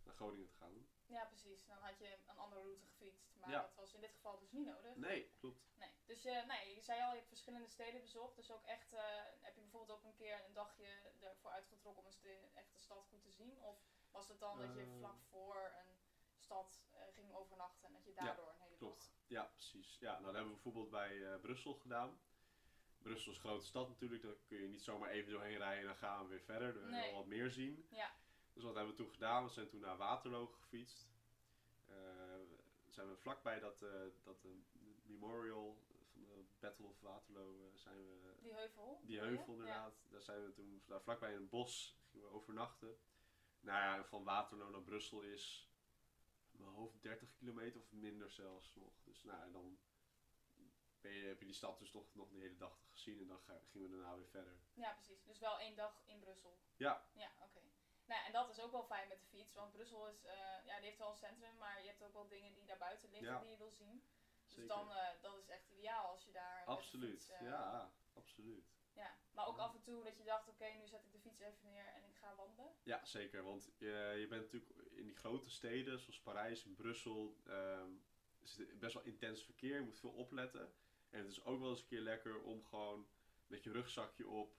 B: naar Groningen te gaan.
A: ja precies. Dan had je een andere route gefietst. Maar
B: Ja.
A: dat was in dit geval dus niet nodig.
B: Nee, klopt.
A: Nee. Dus je, nee, je zei al, je hebt verschillende steden bezocht. Dus ook echt, eh, heb je bijvoorbeeld ook een keer een dagje ervoor uitgetrokken om eens de echte stad goed te zien? Of was het dan dat je
B: Eh.
A: vlak voor een stad eh, ging overnachten en dat je daardoor een hele
B: Klopt.
A: dag...
B: Ja, precies. Ja, nou, dat hebben we bijvoorbeeld bij eh, Brussel gedaan. Brussel is een grote stad natuurlijk, daar kun je niet zomaar even doorheen rijden en dan gaan we weer verder. Dan wil je
A: Nee.
B: wel wat meer zien.
A: Ja.
B: Dus wat hebben we toen gedaan? We zijn toen naar Waterloo gefietst. Eh, zijn we vlakbij dat, eh, dat eh, memorial van de Battle of Waterloo eh, zijn we
A: Die heuvel?
B: die
A: bedoel je?
B: heuvel inderdaad. Daar zijn we toen daar vlakbij in een bos gingen we overnachten. Nou ja, en van Waterloo naar Brussel is in mijn hoofd 30 kilometer of minder zelfs nog. Dus nou, en dan ben je, heb je die stad dus toch nog de hele dag gezien en dan ga- gingen we daarna weer verder.
A: Ja. ja, precies. Dus wel één dag in Brussel.
B: Ja,
A: Ja, oké. Nou, ja, en dat is ook wel fijn met de fiets, want Brussel is, eh, ja, die heeft wel een centrum, maar je hebt ook wel dingen die daar buiten liggen
B: Ja.
A: die je wil zien.
B: zeker.
A: Dus dan, eh, dat is echt ideaal als je daar. met de
B: absoluut.
A: fiets, eh,
B: ja, absoluut.
A: ja. Maar ook
B: Ja.
A: af en toe dat je dacht, oké, nu zet ik de fiets even neer en ik ga wandelen.
B: Ja, zeker. Want eh, je bent natuurlijk in die grote steden, zoals Parijs en Brussel, ehm, is het best wel intens verkeer. Je moet veel opletten. En het is ook wel eens een keer lekker om gewoon met je rugzakje op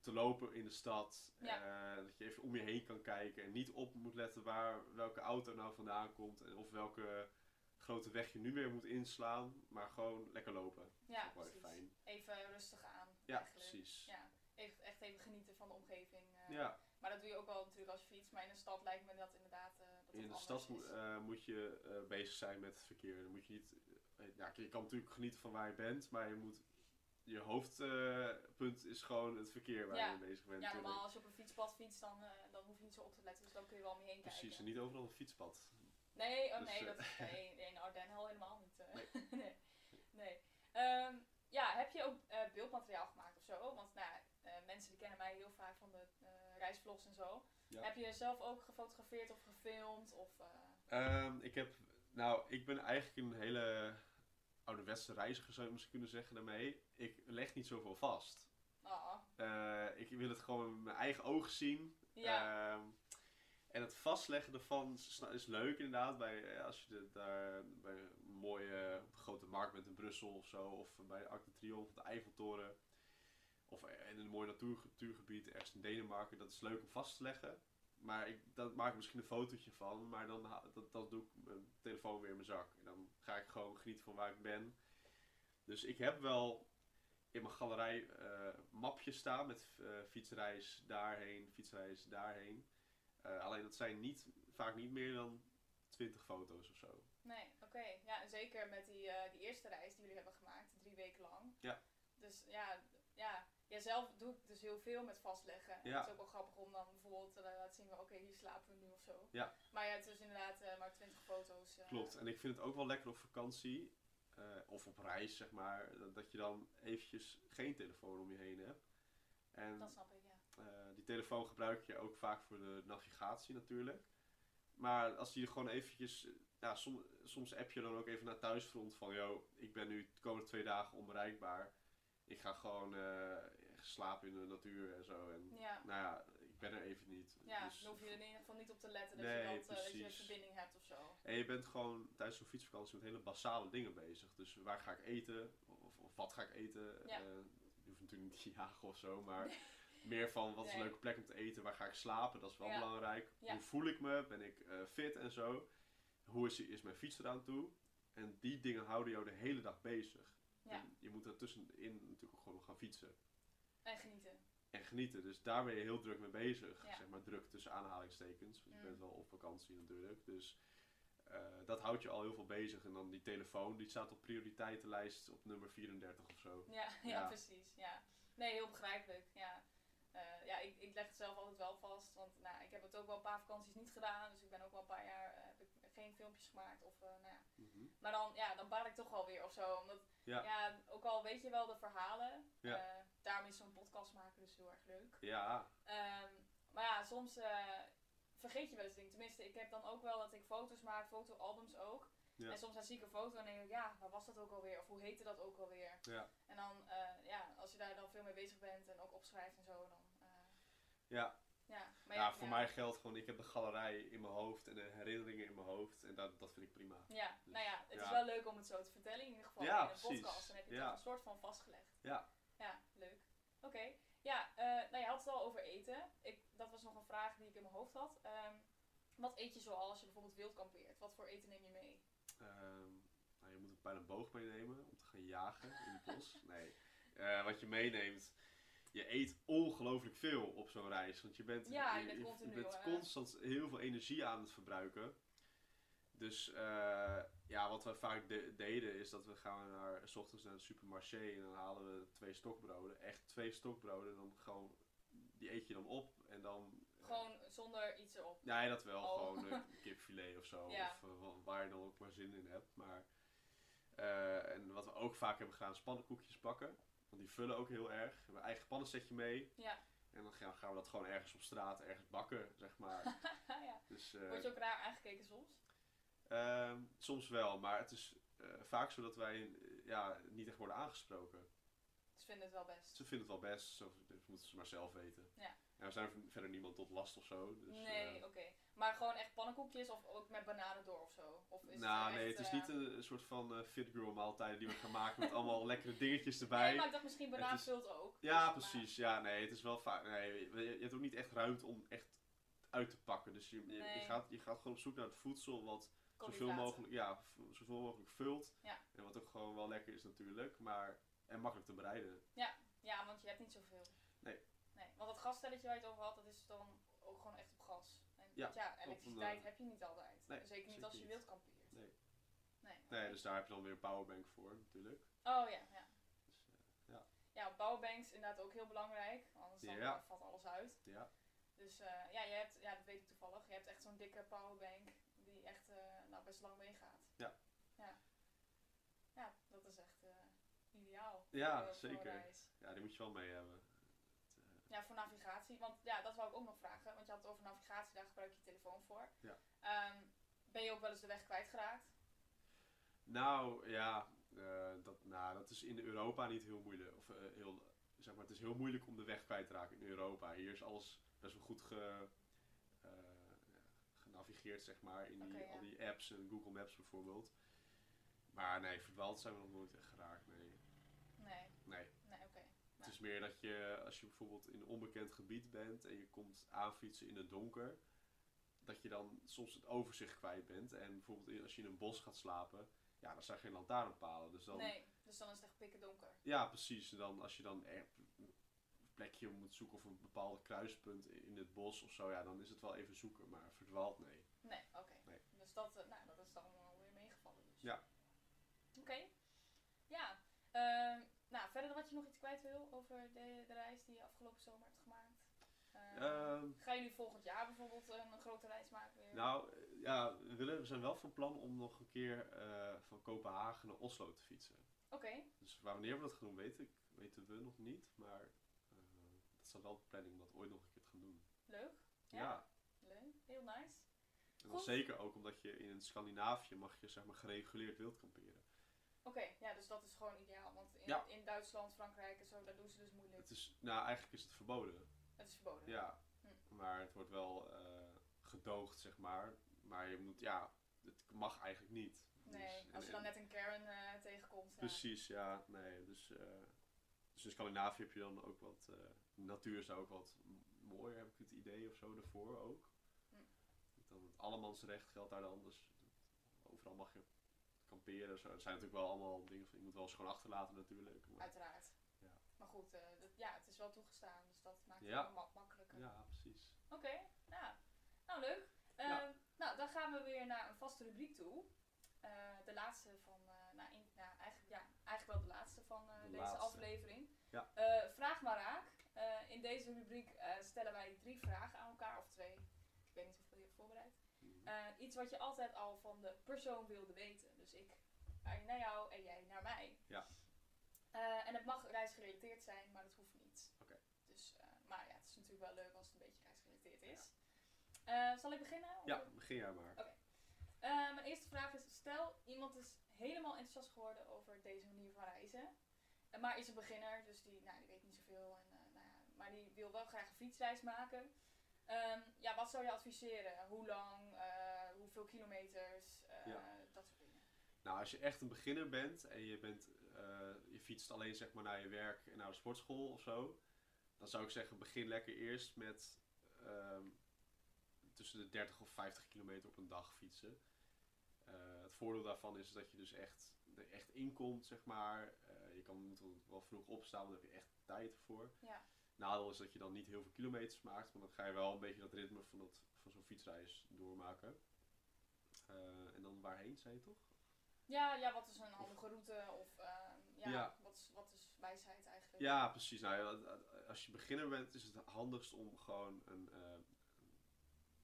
B: te lopen in de stad. Eh, dat je even om je heen kan kijken en niet op moet letten waar welke auto nou vandaan komt en of welke grote weg je nu weer moet inslaan. Maar gewoon lekker lopen.
A: Ja,
B: ook wel
A: precies.
B: even fijn.
A: Even rustig aan.
B: Ja,
A: eigenlijk.
B: precies. Ja.
A: Ja, even, echt even genieten van de omgeving. eh.
B: ja.
A: Maar dat doe je ook wel natuurlijk als je fiets, maar in een stad lijkt me dat inderdaad. eh, dat
B: In
A: het
B: de stad
A: anders
B: mo-
A: is.
B: eh, moet je eh, bezig zijn met het verkeer. Dan moet je niet. eh, ja, je kan natuurlijk genieten van waar je bent, maar je moet. Je hoofdpunt eh, is gewoon het verkeer waar
A: Ja.
B: je mee bezig bent.
A: ja,
B: natuurlijk.
A: normaal als je op een fietspad fietst, dan, eh, dan hoef je niet zo op te letten, dus dan kun je wel om je heen kijken.
B: Precies, en niet overal een fietspad.
A: Nee, oh
B: Dus,
A: nee,
B: eh,
A: dat is nee, nee, in Ardennen al helemaal niet. eh. nee. nee. Ehm, ja, heb je ook eh, beeldmateriaal gemaakt of zo? Want nou, ja, eh, mensen die kennen mij heel vaak van de eh, reisvlogs en zo.
B: Ja.
A: Heb je zelf ook gefotografeerd of gefilmd? Of, eh,
B: Ehm, ik heb. Nou, ik ben eigenlijk een hele ouderwetse reiziger, zou je misschien kunnen zeggen daarmee. Ik leg niet zoveel vast.
A: ah,
B: Eh, ik wil het gewoon met mijn eigen ogen zien.
A: ja,
B: Ehm, en het vastleggen ervan is, nou, is leuk inderdaad. Bij, eh, als je de, daar bij een mooie op een grote markt bent in Brussel of zo. Of bij de Arc de Triomphe of de Eiffeltoren. Of eh, in een mooi natuur- natuurgebied ergens in Denemarken. Dat is leuk om vast te leggen. Maar ik dat maak ik misschien een fotootje van. Maar dan ha- dat, dat doe ik mijn telefoon weer in mijn zak. En dan ga ik gewoon genieten van waar ik ben. Dus ik heb wel in mijn galerij eh, mapjes staan met eh, fietsreis daarheen, fietsreis daarheen. Eh, alleen dat zijn niet, vaak niet meer dan 20 foto's of zo.
A: nee, oké. Ja, en zeker met die, eh, die eerste reis die jullie hebben gemaakt, drie weken lang.
B: Ja.
A: Dus ja, ja. Ja, zelf doe ik dus heel veel met vastleggen. En
B: Ja.
A: Het is ook wel grappig om dan bijvoorbeeld te laten zien, oké, hier slapen we nu of zo.
B: Ja.
A: dus Maar ja, het is inderdaad eh, maar 20 foto's. eh,
B: Klopt. En ik vind het ook wel lekker op vakantie. eh, of op reis, zeg maar, dat, dat je dan eventjes geen telefoon om je heen hebt. En
A: Dat snap ik, ja.
B: eh, die telefoon gebruik je ook vaak voor de navigatie natuurlijk. Maar als die er gewoon eventjes, eh, ja, som- soms app je dan ook even naar thuisfront van, yo, ik ben nu de komende twee dagen onbereikbaar. Ik ga gewoon eh, slapen in de natuur en zo. En
A: Ja,
B: nou ja, ik ben er even niet.
A: ja
B: Dus-
A: dan hoef je er in ieder geval niet op te letten dat,
B: Nee,
A: je, dat, eh, dat je een
B: precies.
A: verbinding hebt of zo.
B: En je bent gewoon tijdens zo'n fietsvakantie met hele basale dingen bezig. Dus waar ga ik eten? Of, of wat ga ik eten?
A: Ja.
B: Eh, je hoeft natuurlijk niet te jagen of zo, maar meer van wat is een
A: Nee.
B: leuke plek om te eten? Waar ga ik slapen? Dat is wel
A: Ja.
B: belangrijk.
A: Ja.
B: Hoe voel ik me? Ben ik eh, fit en zo? Hoe is, is mijn fiets eraan toe? En die dingen houden jou de hele dag bezig.
A: Ja.
B: En je moet daartussenin natuurlijk ook gewoon nog gaan fietsen
A: En genieten.
B: en genieten. Dus daar ben je heel druk mee bezig.
A: Ja.
B: Zeg maar druk tussen aanhalingstekens. Want je
A: Mm.
B: bent wel op vakantie natuurlijk. Dus eh, dat houdt je al heel veel bezig. En dan die telefoon, die staat op prioriteitenlijst op nummer 34 of zo.
A: Ja, ja,
B: Ja.
A: precies. Ja. Nee, heel begrijpelijk. Ja, Eh, ja ik, ik leg het zelf altijd wel vast. Want nou, ik heb het ook wel een paar vakanties niet gedaan. Dus ik ben ook wel een paar jaar eh, heb ik geen filmpjes gemaakt. Of, eh, nou ja.
B: Mhm.
A: Maar dan, ja, dan baal ik toch wel weer of zo. Omdat, ja.
B: Ja.
A: ook al weet je wel de verhalen.
B: Ja.
A: eh, daarom is zo'n podcast maken dus heel erg leuk.
B: Ja,
A: Ehm, maar ja, soms eh, vergeet je wel eens dingen. Tenminste, ik heb dan ook wel dat ik foto's maak, fotoalbums ook.
B: Ja.
A: En soms dan zie ik een foto en denk ik, ja, waar was dat ook alweer? Of hoe heette dat ook alweer?
B: Ja.
A: En dan, eh, ja, als je daar dan veel mee bezig bent en ook opschrijft en zo, dan... eh,
B: Ja.
A: Ja, maar
B: ja, voor mij geldt gewoon, ik heb de galerij in mijn hoofd en de herinneringen in mijn hoofd. En dat, dat vind ik prima.
A: Ja, nou ja, het is
B: Dus, Ja.
A: wel leuk om het zo te vertellen in ieder geval
B: Ja,
A: in een
B: precies.
A: podcast. Dan heb je
B: Ja.
A: toch een soort van vastgelegd.
B: Ja.
A: Ja, leuk. Oké. Ja, eh, nou je had het al over eten. Ik, dat was nog een vraag die ik in mijn hoofd had. Ehm, wat eet je zoal als je bijvoorbeeld wild kampeert? Wat voor eten neem je mee?
B: Ehm, nou, je moet een pijlenboog meenemen om te gaan jagen in het bos. Nee. Eh, wat je meeneemt. Je eet ongelooflijk veel op zo'n reis. Want je bent,
A: Ja, je bent continu,
B: bent
A: eh.
B: constant heel veel energie aan het verbruiken. Dus eh, ja, wat we vaak de- deden is dat we gaan naar, s ochtends naar de supermarché en dan halen we twee stokbroden. Echt twee stokbroden. En dan gewoon, die eet je dan op. En dan
A: Gewoon zonder iets erop.
B: Nee, dat wel.
A: Oh.
B: Gewoon een kipfilet of zo.
A: Ja.
B: Of eh, wa- waar je dan ook maar zin in hebt. Maar, eh, en wat we ook vaak hebben gedaan, is pannenkoekjes bakken. Want die vullen ook heel erg. We hebben een eigen pannensetje mee.
A: Ja.
B: En dan gaan gaan we dat gewoon ergens op straat, ergens bakken, zeg maar.
A: ja.
B: Dus, eh,
A: Word je ook raar aangekeken soms?
B: ehm, soms wel, maar het is eh, vaak zo dat wij eh, ja, niet echt worden aangesproken.
A: Ze vinden het wel best.
B: Ze vinden het wel best, zo, dat moeten ze maar zelf weten.
A: Ja.
B: En we zijn verder niemand tot last of zo. Dus, eh,
A: nee, oké. Maar gewoon echt pannenkoekjes of ook met bananen door of zo? Of is eh,
B: nou,
A: het
B: nee, het is niet
A: een
B: een, een soort van eh, fit girl maaltijden die we gaan maken met allemaal lekkere dingetjes erbij.
A: Nee, maar ik dacht misschien
B: Het
A: banaan
B: is-
A: vult ook.
B: ja,
A: Dus, maar-
B: precies. Ja, nee, het is wel vaak. Nee, je, je hebt ook niet echt ruimte om echt uit te pakken. Dus je, je, je
A: Nee.
B: gaat, je gaat gewoon op zoek naar het voedsel wat zoveel
A: Koolhydraten.
B: mogelijk, ja, v- zoveel mogelijk vult.
A: Ja.
B: En wat ook gewoon wel lekker is natuurlijk, maar en makkelijk te bereiden.
A: Ja, want je hebt niet zoveel.
B: Nee.
A: nee. Want dat gasstelletje waar je het over had, dat is dan ook gewoon echt op gas. En,
B: Ja,
A: want ja,
B: een,
A: elektriciteit
B: eh,
A: heb je niet altijd.
B: nee,
A: Zeker niet
B: zeker
A: als je
B: niet.
A: wild kampeert.
B: Nee.
A: Nee,
B: Nee,
A: oké.
B: dus daar heb je dan weer een powerbank voor natuurlijk.
A: Oh ja, ja.
B: Dus, eh, ja.
A: Ja, powerbanks inderdaad ook heel belangrijk, anders dan eh,
B: Ja.
A: valt alles uit.
B: Ja.
A: Dus eh, ja, je hebt, ja, dat weet ik toevallig, je hebt echt zo'n dikke powerbank die echt eh, nou, best lang meegaat.
B: Ja.
A: Ja, ja dat is echt eh, ideaal.
B: Ja,
A: voor- voor een
B: zeker.
A: reis.
B: Ja, die moet je wel mee hebben.
A: Ja, voor navigatie. Want ja, dat wou ik ook nog vragen. Want je had het over navigatie, daar gebruik je je telefoon voor.
B: Ja.
A: Ehm, ben je ook wel eens de weg kwijtgeraakt?
B: Nou ja, eh, dat, nou, dat is in Europa niet heel moeilijk. Of, eh, heel, zeg maar, het is heel moeilijk om de weg kwijt te raken in Europa. Hier is alles best wel goed ge, eh, genavigeerd, zeg maar, in die,
A: Oké, ja.
B: al die apps en Google Maps bijvoorbeeld. Maar nee, verdwaald zijn we nog nooit echt geraakt. Nee.
A: Nee.
B: Nee.
A: Nee, oké.
B: Het is meer dat je, als je bijvoorbeeld in een onbekend gebied bent en je komt aanfietsen in het donker, dat je dan soms het overzicht kwijt bent. En bijvoorbeeld in- als je in een bos gaat slapen, ja, dan zijn geen lantaarnpalen. Dus dan,
A: Nee, dus dan is het echt pikken donker.
B: ja, precies. En dan als je dan er- een plekje moet zoeken of een bepaalde kruispunt i- in het bos of zo, ja, dan is het wel even zoeken, maar verdwaald nee.
A: Nee, oké.
B: Nee.
A: Dus dat, eh, nou, dat is dan wel weer meegevallen. Dus.
B: Ja.
A: Oké. Ja. Ehm, nou, verder wat je nog iets kwijt wil over de, de reis die je afgelopen zomer hebt gemaakt. Eh,
B: Ehm,
A: gaan jullie volgend jaar bijvoorbeeld een, een grote reis maken weer?
B: nou, eh, ja, we, willen, we zijn wel van plan om nog een keer eh, van Kopenhagen naar Oslo te fietsen.
A: Oké,
B: Dus waar- wanneer we dat gaan doen, weet ik, weten we nog niet. Maar eh, dat staat wel op de planning om dat ooit nog een keer te gaan doen.
A: leuk.
B: Ja.
A: Leuk, heel nice.
B: En dan
A: Goed.
B: zeker ook omdat je in Scandinavië mag je zeg maar gereguleerd wild kamperen.
A: Oké, ja, dus dat is gewoon ideaal. Want in,
B: Ja.
A: in Duitsland, Frankrijk en zo, daar doen ze dus moeilijk.
B: Het is, nou, eigenlijk is het verboden.
A: Het is verboden.
B: Ja.
A: Hm.
B: Maar het wordt wel eh, gedoogd, zeg maar. Maar je moet, ja, het mag eigenlijk niet.
A: Nee,
B: Dus-
A: als je
B: en-
A: dan
B: en- Dus-
A: net een Karen eh, tegenkomt. ja.
B: Precies, ja. Nee, dus, eh, dus in Scandinavië heb je dan ook wat... eh, de natuur is daar ook wat m- mooier, heb ik het idee, of zo, daarvoor ook.
A: Hm.
B: Dan het allemansrecht geldt daar dan, dus overal mag je kamperen. Zo. Het zijn natuurlijk wel allemaal dingen van, je moet wel schoon achterlaten natuurlijk. maar-
A: Uiteraard.
B: Ja.
A: Maar goed, eh, dat, ja, het is wel toegestaan, dus dat maakt
B: Ja.
A: het allemaal makkelijker.
B: ja, precies.
A: Oké, nou, nou leuk. Eh,
B: Ja.
A: Nou, dan gaan we weer naar een vaste rubriek toe. Eh, de laatste van, eh, nou, in- nou, eigenlijk, ja, eigenlijk wel de laatste van eh,
B: De
A: deze
B: laatste.
A: aflevering.
B: Ja.
A: Eh, vraag maar raak. Eh, in deze rubriek eh, stellen wij drie vragen aan elkaar, of twee. Ik weet niet hoeveel je hebt voorbereid.
B: Mhm.
A: Eh, iets wat je altijd al van de persoon wilde weten. Dus ik eh, naar jou en jij naar mij.
B: Ja.
A: Eh, en het mag reisgerelateerd zijn, maar dat hoeft niet.
B: Oké.
A: Dus, eh, maar ja, het is natuurlijk wel leuk als het een beetje reisgerelateerd is. Eh, zal ik beginnen?
B: Ja, begin jij maar.
A: Eh, mijn eerste vraag is, stel iemand is helemaal enthousiast geworden over deze manier van reizen. eh, Maar is een beginner, dus die, nou, die weet niet zoveel. En, eh, nou ja, maar die wil wel graag een fietsreis maken. Ehm, ja, wat zou je adviseren? Hoe lang? eh, hoeveel kilometers? eh,
B: Ja.
A: Dat soort dingen.
B: Nou, als je echt een beginner bent en je, bent, eh, je fietst alleen zeg maar, naar je werk en naar de sportschool of zo, dan zou ik zeggen begin lekker eerst met ehm, tussen de 30 of 50 kilometer op een dag fietsen. Eh, het voordeel daarvan is dat je dus echt, er echt inkomt, zeg maar. Eh, je kan, moet wel- wel vroeg opstaan, want daar heb je echt tijd voor.
A: Ja.
B: Nadeel is dat je dan niet heel veel kilometers maakt, maar dan ga je wel een beetje dat ritme van, dat, van zo'n fietsreis doormaken. Eh, en dan waarheen, zei je toch?
A: Ja, ja, wat is een handige route? Of ehm, ja,
B: Ja.
A: Wat, is, wat is wijsheid eigenlijk?
B: Ja, precies. Nou, ja, als je beginner bent, is het handigst om gewoon een, eh, een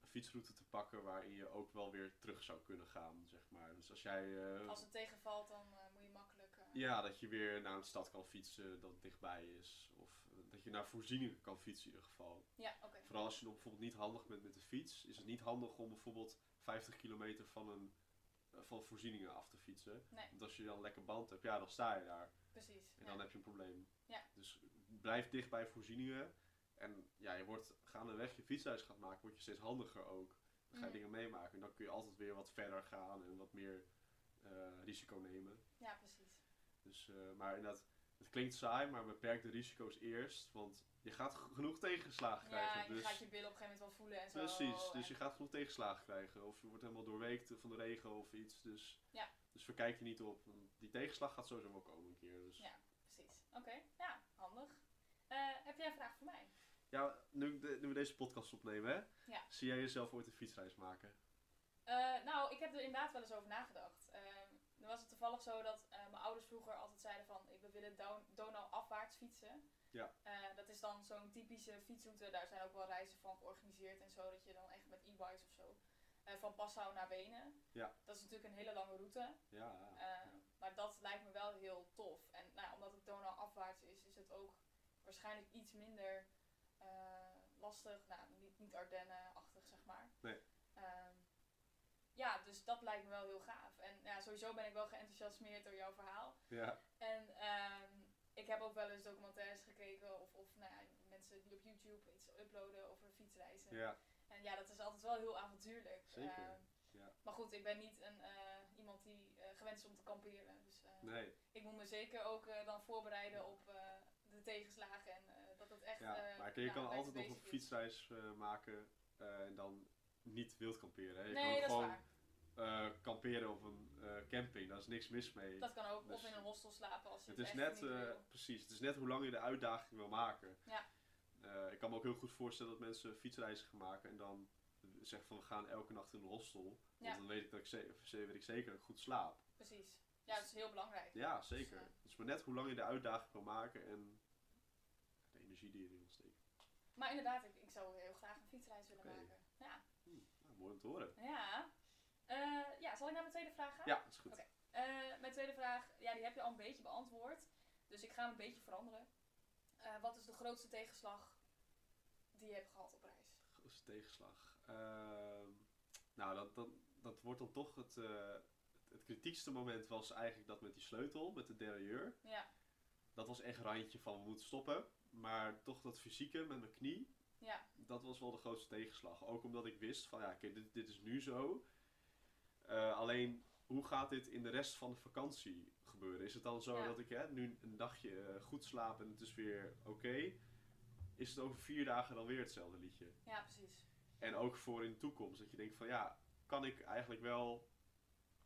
B: fietsroute te pakken waarin je ook wel weer terug zou kunnen gaan, zeg maar. Dus als jij... eh,
A: Als het tegenvalt, dan eh, moet je makkelijk... eh,
B: ja, dat je weer naar een stad kan fietsen dat dichtbij is. Of eh, dat je naar voorzieningen kan fietsen in ieder geval.
A: ja oké.
B: Vooral als je nog bijvoorbeeld niet handig bent met de fiets, is het niet handig om bijvoorbeeld 50 kilometer van, een, eh, van voorzieningen af te fietsen.
A: Nee.
B: Want als je dan lekker band hebt, ja, dan sta je daar.
A: Precies.
B: En
A: ja.
B: dan heb je een probleem.
A: Ja.
B: Dus blijf dicht bij voorzieningen. En ja, je wordt gaandeweg je fietsreis gaat maken, word je steeds handiger ook. Dan ga je
A: Mhm.
B: dingen meemaken. En dan kun je altijd weer wat verder gaan en wat meer eh, risico nemen.
A: ja, precies.
B: Dus, eh, maar inderdaad, het klinkt saai, maar beperk de risico's eerst. Want je gaat g- genoeg tegenslagen krijgen.
A: Ja, en je
B: dus,
A: gaat je billen op een gegeven moment wel voelen en zo.
B: precies, dus
A: en-
B: je gaat genoeg tegenslagen krijgen. Of je wordt helemaal doorweekt van de regen of iets. Dus,
A: Ja.
B: dus verkijk je niet op. Want Die tegenslag gaat sowieso wel komen een keer. Dus.
A: Ja. Precies. Oké, ja, handig. Eh, heb jij een vraag voor mij?
B: Ja, nu, ik de- nu we deze podcast opnemen, hè?
A: Ja.
B: Zie jij jezelf ooit een fietsreis maken?
A: Eh, nou, ik heb er inderdaad wel eens over nagedacht. Ehm dan was het toevallig zo dat eh, mijn ouders vroeger altijd zeiden van... ik- we willen Don- Donau afwaarts fietsen.
B: Ja.
A: Eh, dat is dan zo'n typische fietsroute. Daar zijn ook wel reizen van georganiseerd en zo. Dat je dan echt met e-bikes of zo... eh, van Passau naar Wenen.
B: Ja.
A: Dat is natuurlijk een hele lange route.
B: Ja.
A: Eh, Maar dat lijkt me wel heel tof. En nou, ja, omdat het Donau afwaarts is, is het ook waarschijnlijk iets minder eh, lastig. Nou, niet, niet Ardennen-achtig, zeg maar.
B: Nee.
A: Ehm, ja, dus dat lijkt me wel heel gaaf. En ja, sowieso ben ik wel geenthousiasmeerd door jouw verhaal.
B: ja.
A: En ehm, ik heb ook wel eens documentaires gekeken of, of nou ja, mensen die op YouTube iets uploaden over fietsreizen.
B: Ja.
A: En ja, dat is altijd wel heel avontuurlijk.
B: Zeker,
A: Ehm,
B: ja.
A: Maar goed, ik ben niet een, eh, iemand die eh, gewend is om te kamperen. Dus eh,
B: Nee.
A: ik moet me zeker ook eh, dan voorbereiden op eh, de tegenslagen. En eh, dat het echt...
B: Ja.
A: eh,
B: Maar je
A: ja,
B: kan
A: bij
B: altijd nog
A: basic
B: een
A: is.
B: fietsreis eh, maken eh, en dan niet wild kamperen. Hè? Je
A: Nee,
B: kan
A: dat is
B: gewoon
A: waar.
B: eh, kamperen op een eh, camping, daar is niks mis mee.
A: Dat kan ook.
B: dus-
A: of in een hostel slapen als je
B: het
A: het,
B: is
A: echt
B: net,
A: niet
B: eh,
A: wil.
B: precies, het is net hoe lang je de uitdaging wil maken.
A: Ja.
B: Eh, ik kan me ook heel goed voorstellen dat mensen fietsreizen gaan maken en dan zeggen van we gaan elke nacht in een hostel. Want
A: Ja.
B: dan weet ik, dat ik, ze- weet ik zeker dat ik goed slaap.
A: Precies. Ja, dat is heel belangrijk.
B: Ja, zeker.
A: eh,
B: Het is maar net hoe lang je de uitdaging kan maken en de energie die je erin steekt.
A: Maar inderdaad, ik, ik zou heel graag een fietsreis willen
B: Oké.
A: maken. Ja.
B: Nou, mooi om te horen.
A: Ja. Eh, ja, zal ik naar mijn tweede vraag gaan?
B: Ja, is goed.
A: Oké. Eh, mijn tweede vraag, ja, die heb je al een beetje beantwoord. Dus ik ga hem een beetje veranderen. Eh, wat is de grootste tegenslag die je hebt gehad op reis?
B: Grootste tegenslag. Ehm, nou, dat, dat, dat wordt dan toch het, eh, het kritiekste moment was eigenlijk dat met die sleutel, met de derailleur.
A: Ja,
B: Dat was echt randje van we moeten stoppen. Maar toch dat fysieke met mijn knie,
A: ja,
B: dat was wel de grootste tegenslag. Ook omdat ik wist van ja, oké, dit, dit is nu zo. Eh, alleen, hoe gaat dit in de rest van de vakantie gebeuren? Is het dan zo
A: Ja.
B: dat ik hè, nu een dagje eh, goed slaap en het is weer oké? Is het over vier dagen dan weer hetzelfde liedje?
A: ja, precies.
B: En ook voor in de toekomst. Dat je denkt van ja, kan ik eigenlijk wel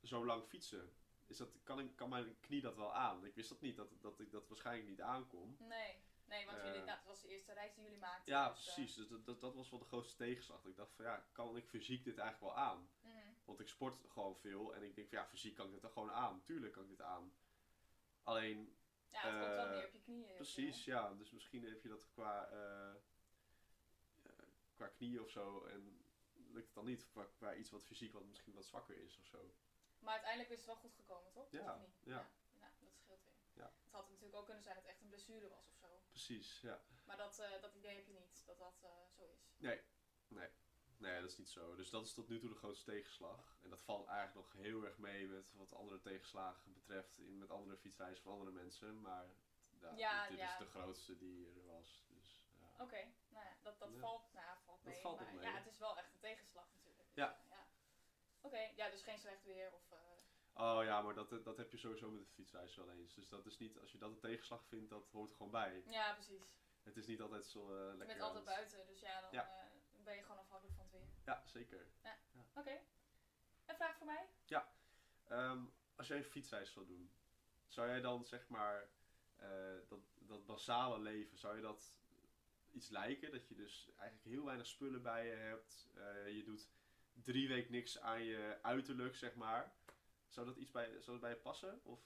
B: zo lang fietsen? Is dat, kan, ik, kan mijn knie dat wel aan? Ik wist dat niet, dat, dat ik dat waarschijnlijk niet aankom.
A: Nee, nee want jullie,
B: Eh.
A: nou, het was de eerste reis die jullie maakten.
B: Ja,
A: dus, eh,
B: precies. Dus dat, dat, dat was wel de grootste tegenslag. Ik dacht van ja, kan ik fysiek dit eigenlijk wel aan?
A: mhm.
B: Want ik sport gewoon veel en ik denk van ja, fysiek kan ik dit dan gewoon aan. Tuurlijk kan ik dit aan. Alleen
A: Ja, het komt wel
B: Eh,
A: meer op je knieën. heel
B: Precies, ja. Dus misschien heb je dat qua, eh, eh, qua knieën of zo. En lukt het dan niet qua, qua iets wat fysiek wat misschien wat zwakker is of zo.
A: veel. Maar uiteindelijk is het wel goed gekomen, toch?
B: Ja,
A: Of niet?
B: ja.
A: Nou, dat scheelt weer.
B: Ja.
A: Het had natuurlijk ook kunnen zijn dat het echt een blessure was of zo.
B: Precies, ja.
A: Maar dat, eh, dat idee heb je niet, dat dat eh, zo is.
B: Nee, dat is niet zo. Dus dat is tot nu toe de grootste tegenslag. En dat valt eigenlijk nog heel erg mee met wat andere tegenslagen betreft. In, met andere fietsreizen van andere mensen. Maar ja,
A: Ja,
B: dit
A: ja.
B: is de grootste die er was. Dus, ja.
A: Oké, nou ja, dat, dat
B: Ja.
A: valt, nou, ja, valt
B: Dat
A: mee.
B: valt
A: maar
B: ook mee,
A: ja,
B: ja.
A: het is wel echt een tegenslag natuurlijk. Dus,
B: Ja.
A: eh, ja. Oké, ja, dus geen slecht weer of... eh,
B: Oh ja, maar dat, dat heb je sowieso met de fietsreis wel eens. Dus dat is niet, als je dat een tegenslag vindt, dat hoort er gewoon bij.
A: ja, precies.
B: Het is niet altijd zo eh,
A: Je
B: lekker.
A: bent altijd
B: aan het-
A: buiten, dus ja, dan
B: Ja.
A: eh, ben je gewoon afhankelijk van het weer.
B: Ja, zeker.
A: Oké. Een vraag voor mij?
B: Ehm, als jij een fietsreis zou doen, zou jij dan zeg maar eh, dat, dat basale leven, zou je dat iets lijken? Dat je dus eigenlijk heel weinig spullen bij je hebt. eh, je doet drie weken niks aan je uiterlijk, zeg maar. Zou dat iets bij, zou dat bij je passen? Of?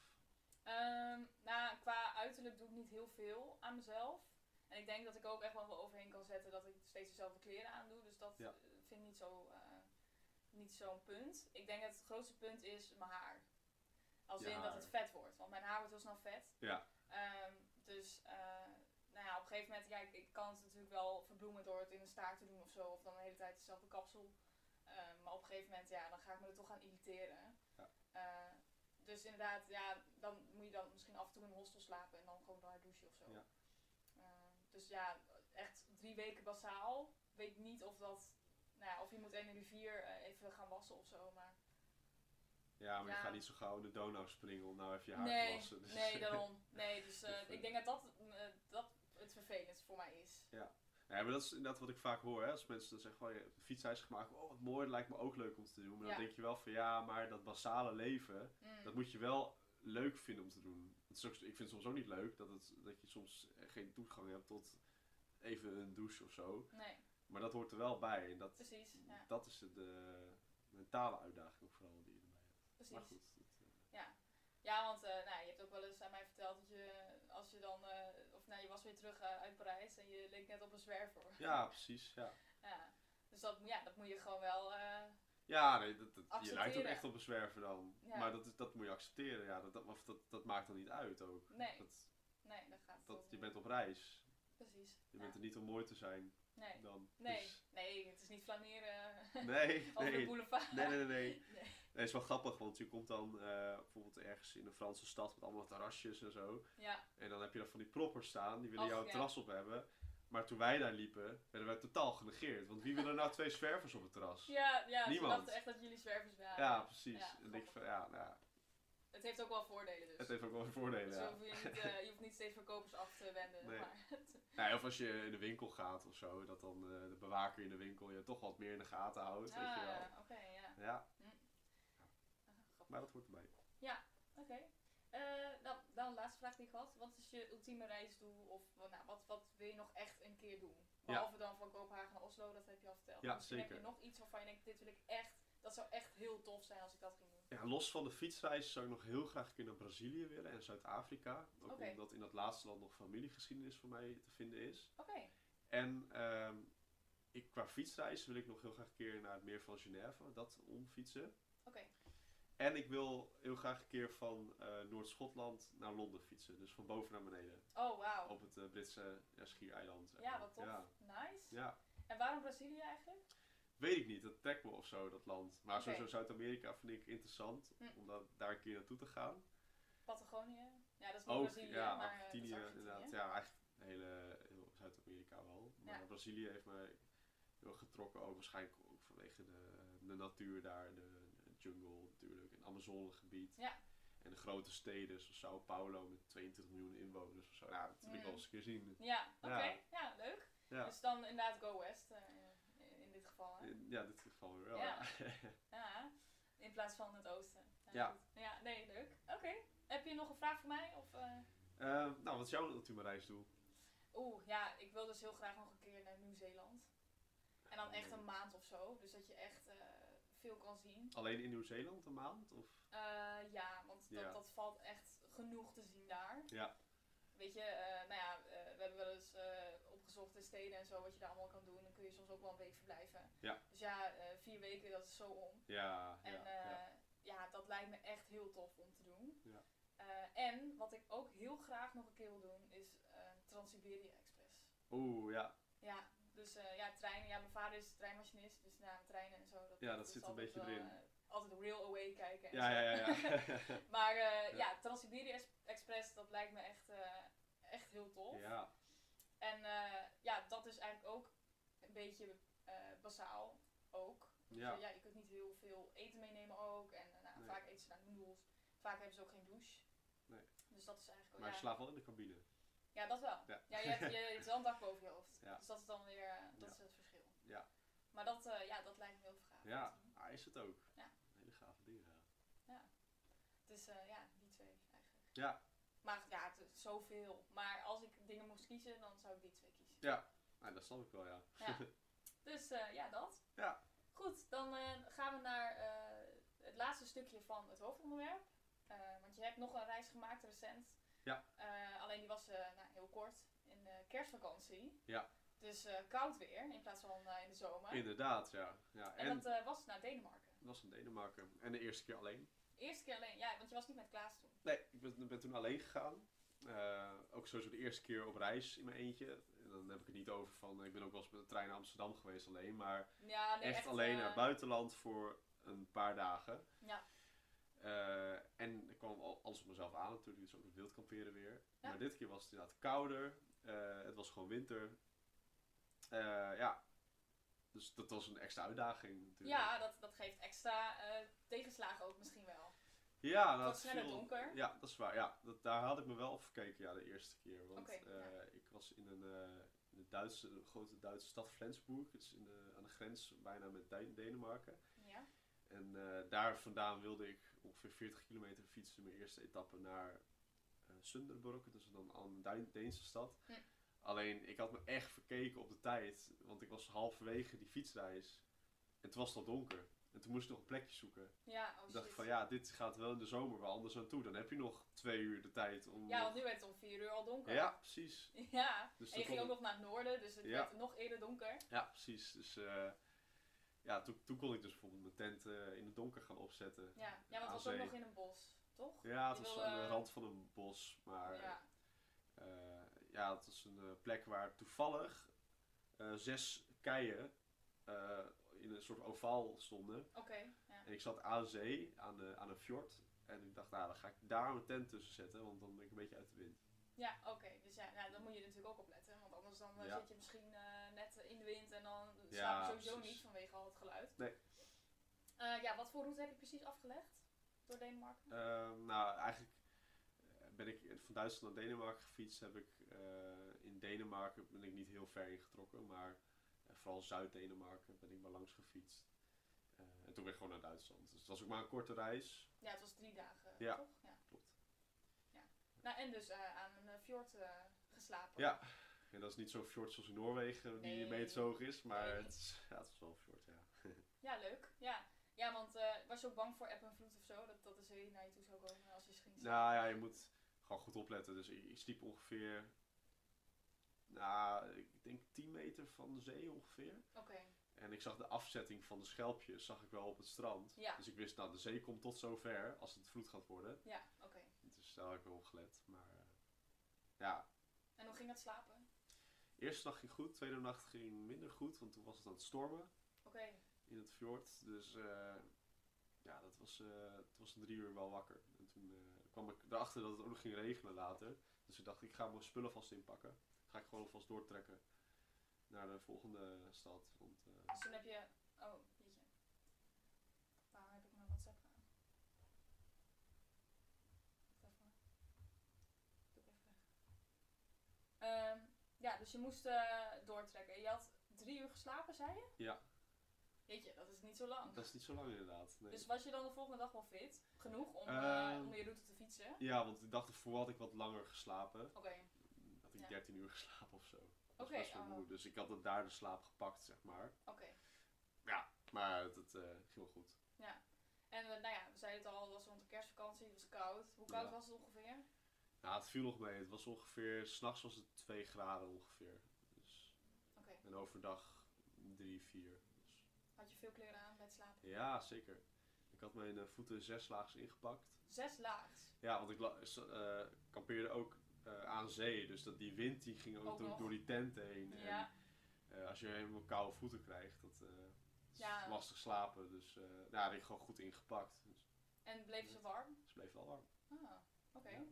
A: Ehm, nou, qua uiterlijk doe ik niet heel veel aan mezelf. En ik denk dat ik ook echt wel wel overheen kan zetten dat ik steeds dezelfde kleren aandoe. Dus dat
B: Ja.
A: eh, vind ik niet zo'n niet zo'n punt. Ik denk dat het grootste punt is mijn haar. Als
B: Je
A: in dat
B: haar.
A: het vet wordt. Want mijn haar wordt heel snel vet.
B: Ja.
A: Ehm, dus eh, nou ja, op een gegeven moment, ja, ik, ik kan het natuurlijk wel verbloemen door het in een staart te doen of zo. Of dan de hele tijd dezelfde kapsel. Ehm, maar op een gegeven moment, ja, dan ga ik me er toch aan irriteren.
B: Ja.
A: Eh, dus inderdaad, ja, dan moet je dan misschien af en toe in een hostel slapen en dan gewoon daar douchen of zo.
B: Ja.
A: Eh, dus ja, echt drie weken basaal. Weet niet of dat, nou ja, of je moet in de rivier eh, even gaan wassen of zo. Maar
B: Ja, maar
A: Ja.
B: je gaat niet zo gauw in de Donau springen om nou even je haar te
A: nee,
B: wassen. Dus-
A: nee, daarom. Nee, dus eh,
B: Of, eh,
A: ik denk dat dat, eh, dat het vervelend voor mij is.
B: Ja, maar dat is inderdaad wat ik vaak hoor. Hè? Als mensen dan zeggen van, je hebt een fietsreis gemaakt. Oh, wat mooi, dat lijkt me ook leuk om te doen. Maar
A: Ja.
B: dan denk je wel van, ja, maar dat basale leven,
A: Mm.
B: dat moet je wel leuk vinden om te doen. Het is ook, ik vind het soms ook niet leuk dat, het, dat je soms geen toegang hebt tot even een douche of zo.
A: Nee,
B: Maar dat hoort er wel bij. En dat,
A: precies. Ja,
B: dat is de, mentale uitdaging vooral die je erbij hebt. Maar
A: precies.
B: goed. dat, eh,
A: Ja, want eh, nou, je hebt ook wel eens aan mij verteld dat je, als je dan, eh, of nou, je was weer terug eh, uit Parijs en je leek net op een zwerver.
B: ja, precies. Ja,
A: Ja. Dus dat, ja, dat moet je gewoon wel. eh,
B: ja nee, dat, dat- je lijkt ook
A: Accepteren.
B: echt op een zwerver dan.
A: Ja.
B: Maar dat, is- dat moet je accepteren. Ja, dat, dat, of dat, dat maakt dan niet uit ook.
A: nee,
B: Dat,
A: nee, dat gaat
B: dat,
A: toch
B: je
A: niet.
B: bent op reis.
A: Precies.
B: Je
A: ja.
B: bent er niet om mooi te zijn
A: Nee,
B: dan.
A: nee,
B: Dus-
A: nee, het is niet flaneren
B: nee, nee,
A: over de
B: nee,
A: boulevard.
B: nee, nee, nee.
A: Nee.
B: Nee, is wel grappig, want je komt dan eh, bijvoorbeeld ergens in een Franse stad met allemaal terrasjes en zo.
A: Ja,
B: En dan heb je dan van die proppers staan, die willen
A: Och,
B: jouw
A: ja.
B: terras op hebben. Maar toen wij daar liepen, werden wij totaal genegeerd. Want wie wil er nou twee zwervers op het terras?
A: ja, ja ze
B: Niemand.
A: dachten echt dat jullie zwervers waren.
B: Ja, precies.
A: Ja,
B: en ik denk van, ja, nou, ja,
A: Het heeft ook wel voordelen dus.
B: het heeft ook wel weer voordelen.
A: dus
B: Ja.
A: je, hoeft je niet, eh, je hoeft niet steeds verkopers af te wenden.
B: Nee.
A: Maar
B: Nou, of als je in de winkel gaat of zo, dat dan eh, de bewaker in de winkel je toch wat meer in de gaten houdt. weet je wel.
A: ah, oké, ja.
B: Ja,
A: Ah, grappig.
B: maar dat hoort erbij.
A: Oké. Eh, dan, dan de laatste vraag die ik had. Wat is je ultieme reisdoel? Of wa- nou, wat, wat wil je nog echt een keer doen? Behalve dan van Kopenhagen naar Oslo, dat heb je al verteld.
B: Ja,
A: Maar misschien
B: zeker.
A: heb je nog iets waarvan je denkt, dit wil ik echt... Dat zou echt heel tof zijn als ik dat ging doen.
B: Ja, los van de fietsreis zou ik nog heel graag een keer naar Brazilië willen en Zuid-Afrika. Ook
A: Oké.
B: omdat in dat laatste land nog familiegeschiedenis voor mij te vinden is.
A: Oké.
B: En ehm, ik, qua fietsreis wil ik nog heel graag een keer naar het meer van Genève, dat omfietsen.
A: Oké.
B: En ik wil heel graag een keer van eh, Noord-Schotland naar Londen fietsen. Dus van boven naar beneden.
A: Oh, wauw.
B: Op het eh, Britse ja, schiereiland. zeg
A: Ja,
B: maar.
A: wat tof.
B: Ja.
A: Nice.
B: Ja.
A: En waarom Brazilië eigenlijk?
B: Weet ik niet, dat trekt me of zo, dat land. Maar
A: Oké.
B: sowieso Zuid-Amerika vind ik interessant
A: Hm.
B: om da- daar een keer naartoe te gaan.
A: Patagonië? Ja, dat is niet
B: Ook,
A: Brazilië,
B: ja,
A: maar eh, dat is
B: Argentinië inderdaad.
A: Argentinië.
B: Ja, eigenlijk de hele, heel Zuid-Amerika wel. Maar
A: Ja.
B: Brazilië heeft mij heel erg getrokken, ook waarschijnlijk ook vanwege de, de natuur daar, de, de jungle natuurlijk, en Amazonegebied.
A: Ja.
B: En de grote steden zoals Sao Paulo met 22 miljoen inwoners of zo. Ja, dat wil ik
A: Hm.
B: wel eens een keer zien.
A: Ja, oké.
B: Ja.
A: Ja, leuk.
B: Ja.
A: Dus dan inderdaad Go West eh, in, in dit geval. Hè?
B: In- Ja, in dit geval weer wel.
A: Ja.
B: ja.
A: Ja, in plaats van het oosten.
B: Ja.
A: goed. Ja, nee, leuk. Oké. Heb je nog een vraag voor mij? Of, eh,
B: Eh, nou, wat is jouw ultieme reisdoel?
A: Oeh, ja, ik wil dus heel graag nog een keer naar Nieuw-Zeeland. En dan echt een maand of zo. Dus dat je echt eh, veel kan zien.
B: Alleen in Nieuw-Zeeland een maand? Of?
A: Eh, ja, want dat,
B: Ja.
A: dat valt echt genoeg te zien daar.
B: Ja.
A: Weet je, eh, nou ja, eh, we hebben wel eens eh, opgezocht in steden en zo wat je daar allemaal kan doen. Dan kun je soms ook wel een week verblijven.
B: Ja.
A: Dus ja, eh, vier weken, dat is zo om.
B: Ja,
A: En
B: ja,
A: eh,
B: ja.
A: ja. dat lijkt me echt heel tof om te doen.
B: Ja.
A: Eh, en wat ik ook heel graag nog een keer wil doen, is eh Trans-Siberië Express.
B: Oeh, ja.
A: Ja, dus eh, ja, treinen. Ja, mijn vader is treinmachinist, dus na treinen en zo.
B: Ja, dat
A: is
B: zit een
A: altijd
B: beetje
A: wel,
B: erin.
A: eh, altijd railway kijken en
B: Ja,
A: zo.
B: ja, ja. Ja,
A: Maar eh,
B: Ja.
A: ja, Trans-Siberië Ex- Express, dat lijkt me echt, eh, echt heel tof.
B: ja.
A: En eh, ja, dat is eigenlijk ook een beetje eh, basaal ook.
B: Ja.
A: Ja. ja, je kunt niet heel veel eten meenemen ook. En eh, nou,
B: Nee.
A: vaak eten ze naar noedels. Vaak hebben ze ook geen douche.
B: Nee.
A: Dus dat is eigenlijk
B: Maar
A: ook...
B: ik
A: Ja,
B: slaap wel in de cabine.
A: ja, dat wel.
B: Ja.
A: Ja, je, hebt, je, hebt wel een dak boven je hoofd.
B: Ja.
A: Dus dat is dan weer... eh, dat
B: Ja.
A: is het verschil.
B: Ja.
A: Maar dat, eh, ja, dat lijkt me heel gaaf. om
B: Ja,
A: te doen.
B: ah, is het ook.
A: Ja.
B: Hele gave dingen. ja.
A: Dus eh, ja, die twee eigenlijk.
B: Ja.
A: Maar ja, het is zoveel. Maar als ik dingen moest kiezen, dan zou ik die twee kiezen.
B: Ah, dat snap ik wel, ja.
A: Ja. Dus eh, ja, dat.
B: Ja.
A: Goed, dan eh, gaan we naar eh, het laatste stukje van het hoofdonderwerp. Eh, want je hebt nog een reis gemaakt recent.
B: Ja.
A: Eh, alleen die was eh, nou, heel kort in de kerstvakantie.
B: Ja.
A: Dus eh, koud weer in plaats van eh, in de zomer.
B: Inderdaad, ja. ja.
A: en
B: En
A: dat eh, was naar Denemarken.
B: het was in Denemarken. En de eerste keer alleen.
A: Eerste keer alleen, ja, want je was niet met Klaas toen.
B: Nee, ik ben, ben toen alleen gegaan. Eh, ook sowieso de eerste keer op reis in mijn eentje. En dan heb ik het niet over van, ik ben ook wel eens met de trein naar Amsterdam geweest alleen. Maar
A: Ja, nee,
B: echt, alleen
A: eh,
B: naar het buitenland voor een paar dagen.
A: Ja.
B: Eh, en ik kwam al alles op mezelf aan natuurlijk, dus ook het wild kamperen weer.
A: Ja.
B: Maar dit keer was het inderdaad kouder. Eh, het was gewoon winter. Eh, ja, dus dat was een extra uitdaging natuurlijk.
A: Ja, dat, dat geeft extra eh, tegenslagen ook misschien wel.
B: Ja,
A: Het
B: dat
A: wordt sneller
B: viel-
A: donker.
B: Ja, dat is waar. Ja, dat, daar had ik me wel op verkeken ja, de eerste keer. Want
A: Oké, ja.
B: eh, ik was in een, eh, in de Duitse, een grote Duitse stad Flensburg. Dat is in de, aan de grens bijna met Den- Denemarken.
A: Ja.
B: En eh, daar vandaan wilde ik ongeveer 40 kilometer fietsen, mijn eerste etappe naar eh Sunderborg, dus dan een Duin- Deense stad.
A: Hm.
B: Alleen ik had me echt verkeken op de tijd, want ik was halverwege die fietsreis en het was het al donker. En toen moest ik nog een plekje zoeken.
A: Ja, oh
B: Toen dacht ik
A: shit.
B: van ja, dit gaat wel in de zomer wel anders aan toe. Dan heb je nog twee uur de tijd om.
A: Ja, want
B: nog-
A: nu werd het om vier uur al donker.
B: ja precies.
A: Ja,
B: Dus
A: en je
B: toen
A: ging ook
B: kon ik,
A: nog naar het noorden, dus het
B: Ja.
A: werd nog eerder donker.
B: ja, precies. Dus eh, ja, toen, toen kon ik dus bijvoorbeeld mijn tent eh, in het donker gaan opzetten.
A: Ja, ja want het was
B: Aan
A: ook
B: zee.
A: nog in een bos, toch?
B: Ja, het
A: Je
B: was
A: wil,
B: aan de
A: eh,
B: rand van een bos, maar eh,
A: Ja.
B: ja, het was een eh, plek waar toevallig eh, zes keien eh, in een soort ovaal stonden.
A: Oké, ja.
B: En ik zat aan zee, aan, de, aan een fjord. En ik dacht, nou, dan ga ik daar mijn tent tussen zetten, want dan ben ik een beetje uit de wind.
A: Ja, oké. Dus ja, nou, dan moet je er natuurlijk ook op letten. Want anders dan eh,
B: Ja.
A: zit je misschien eh, net in de wind en dan slaap je
B: Ja,
A: sowieso
B: precies.
A: niet vanwege al het geluid.
B: Nee.
A: Eh, ja, wat voor route heb je precies afgelegd door Denemarken?
B: Ehm, nou, eigenlijk eh, ben ik van Duitsland naar Denemarken gefietst. Heb ik, eh, in Denemarken ben ik niet heel ver ingetrokken, maar eh, vooral Zuid-Denemarken ben ik maar langs gefietst. Eh, en toen ben ik gewoon naar Duitsland. Dus het was ook maar een korte reis.
A: Ja, het was drie dagen,
B: Ja.
A: toch? Ja.
B: Klopt.
A: Ja. Nou, en dus eh, aan een eh, fjord eh, geslapen.
B: Ja. Ja, dat is niet zo'n fjord zoals in Noorwegen, die
A: Nee.
B: een meter zo hoog is, maar
A: Nee.
B: het, is, ja, het is wel een fjord, ja.
A: Ja, leuk. Ja, ja want eh, was je ook bang voor app en vloed of zo? Dat, dat de zee naar je toe zou komen als je ging slapen?
B: Nou ja, je moet gewoon goed opletten. Dus ik, ik sliep ongeveer nou, ik denk 10 meter van de zee ongeveer.
A: Oké.
B: En ik zag de afzetting van de schelpjes, zag ik wel op het strand.
A: Ja.
B: Dus ik wist, nou, de zee komt tot zover als het vloed gaat worden.
A: Ja, oké.
B: Dus daar heb ik wel op gelet. Maar eh, ja,
A: En hoe ging dat slapen?
B: eerste nacht ging goed, tweede nacht ging minder goed, want toen was het aan het stormen
A: Oké.
B: in het fjord. Dus eh, ja, dat was, eh het was om drie uur wel wakker. En toen eh, kwam ik erachter dat het ook nog ging regenen later. Dus ik dacht, ik ga mijn spullen vast inpakken. Ga ik gewoon vast doortrekken naar de volgende stad. Want eh,
A: Dus toen heb je... Oh, jeetje. Waarom heb ik mijn WhatsApp aan? Wacht even. Doe ik even weg. Ehm, ja, dus je moest eh, doortrekken. Je had drie uur geslapen, zei je?
B: Ja.
A: Jeetje, dat is niet zo lang.
B: dat is niet zo lang inderdaad. Nee.
A: Dus was je dan de volgende dag wel fit? Genoeg om, eh,
B: Ehm.
A: om je route te fietsen?
B: Ja, want ik dacht ervoor had ik wat langer geslapen.
A: Oké.
B: Had ik
A: Ja.
B: 13 uur geslapen of zo. Oké.
A: Oké,
B: best wel
A: oh.
B: moe. Dus ik had het daar de slaap gepakt, zeg maar.
A: Oké.
B: Maar het, het eh, ging wel goed.
A: En eh, nou ja, we zeiden het al, het was rond de kerstvakantie, het was koud. Hoe koud
B: Ja.
A: was het ongeveer?
B: Nou, het viel nog mee. Het was ongeveer, s'nachts was het 2 graden ongeveer. Dus,
A: Oké.
B: en overdag 3, 4. Dus,
A: Had je veel kleren aan bij het slapen?
B: ja, zeker. Ik had mijn eh, voeten zeslaags ingepakt.
A: Zes laags.
B: Ja, want ik la- s- eh, kampeerde ook eh, aan zee. Dus dat, die wind die ging ook,
A: Ook
B: door,
A: nog.
B: door die tent heen. En,
A: Ja.
B: eh, als je helemaal koude voeten krijgt, dat eh, is
A: Ja.
B: lastig slapen. Dus eh nou, daar heb ik gewoon goed ingepakt. Dus
A: En bleven ze warm?
B: het bleef wel warm.
A: Ah, oké.
B: Ja.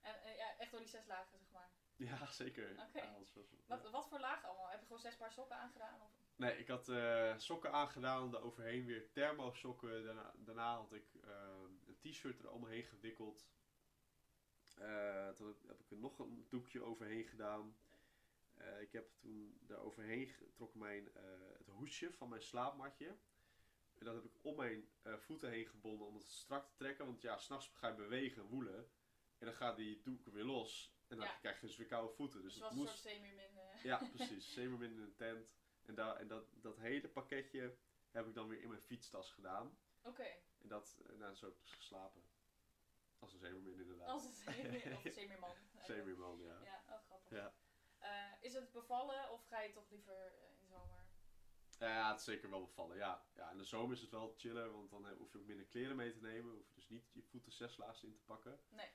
A: En eh, ja, echt door die zes lagen, zeg maar.
B: Ja, zeker.
A: Oké.
B: Ja, anders was het-
A: Wat, wat voor lagen allemaal? Heb je gewoon zes paar sokken aangedaan? Of...
B: Nee, ik had eh, sokken aangedaan, daar overheen weer thermosokken. Daarna, daarna had ik eh, een t-shirt er omheen gewikkeld. Eh, toen heb- heb ik er nog een doekje overheen gedaan. Eh, ik heb toen daar overheen getrokken mijn, eh, het hoesje van mijn slaapmatje. En dat heb ik om mijn eh, voeten heen gebonden om het strak te trekken. Want ja, s'nachts ga je bewegen, woelen. En dan gaat die doek weer los. En dan
A: Ja.
B: krijg je dus weer koude voeten. Dus
A: Dus het
B: het
A: was een
B: moest
A: soort semi-min. eh.
B: ja, precies. Zeemermin in een tent. En, daar en dat, dat hele pakketje heb ik dan weer in mijn fietstas gedaan.
A: Oké,
B: En dat, eh, nou, zo heb ik dus geslapen. Als een zeemermin inderdaad.
A: als een semi-min. Of een semi-man. eigenlijk.
B: zeemerman, ja.
A: Ja, oh, grappig.
B: Ja.
A: Eh, is het bevallen of ga je toch liever eh, in de zomer?
B: Eh, ja, het is zeker wel bevallen, ja. ja. In de zomer is het wel chiller, want dan eh, hoef je ook minder kleren mee te nemen. Hoef je dus niet je voeten zeslaags in te pakken.
A: Nee.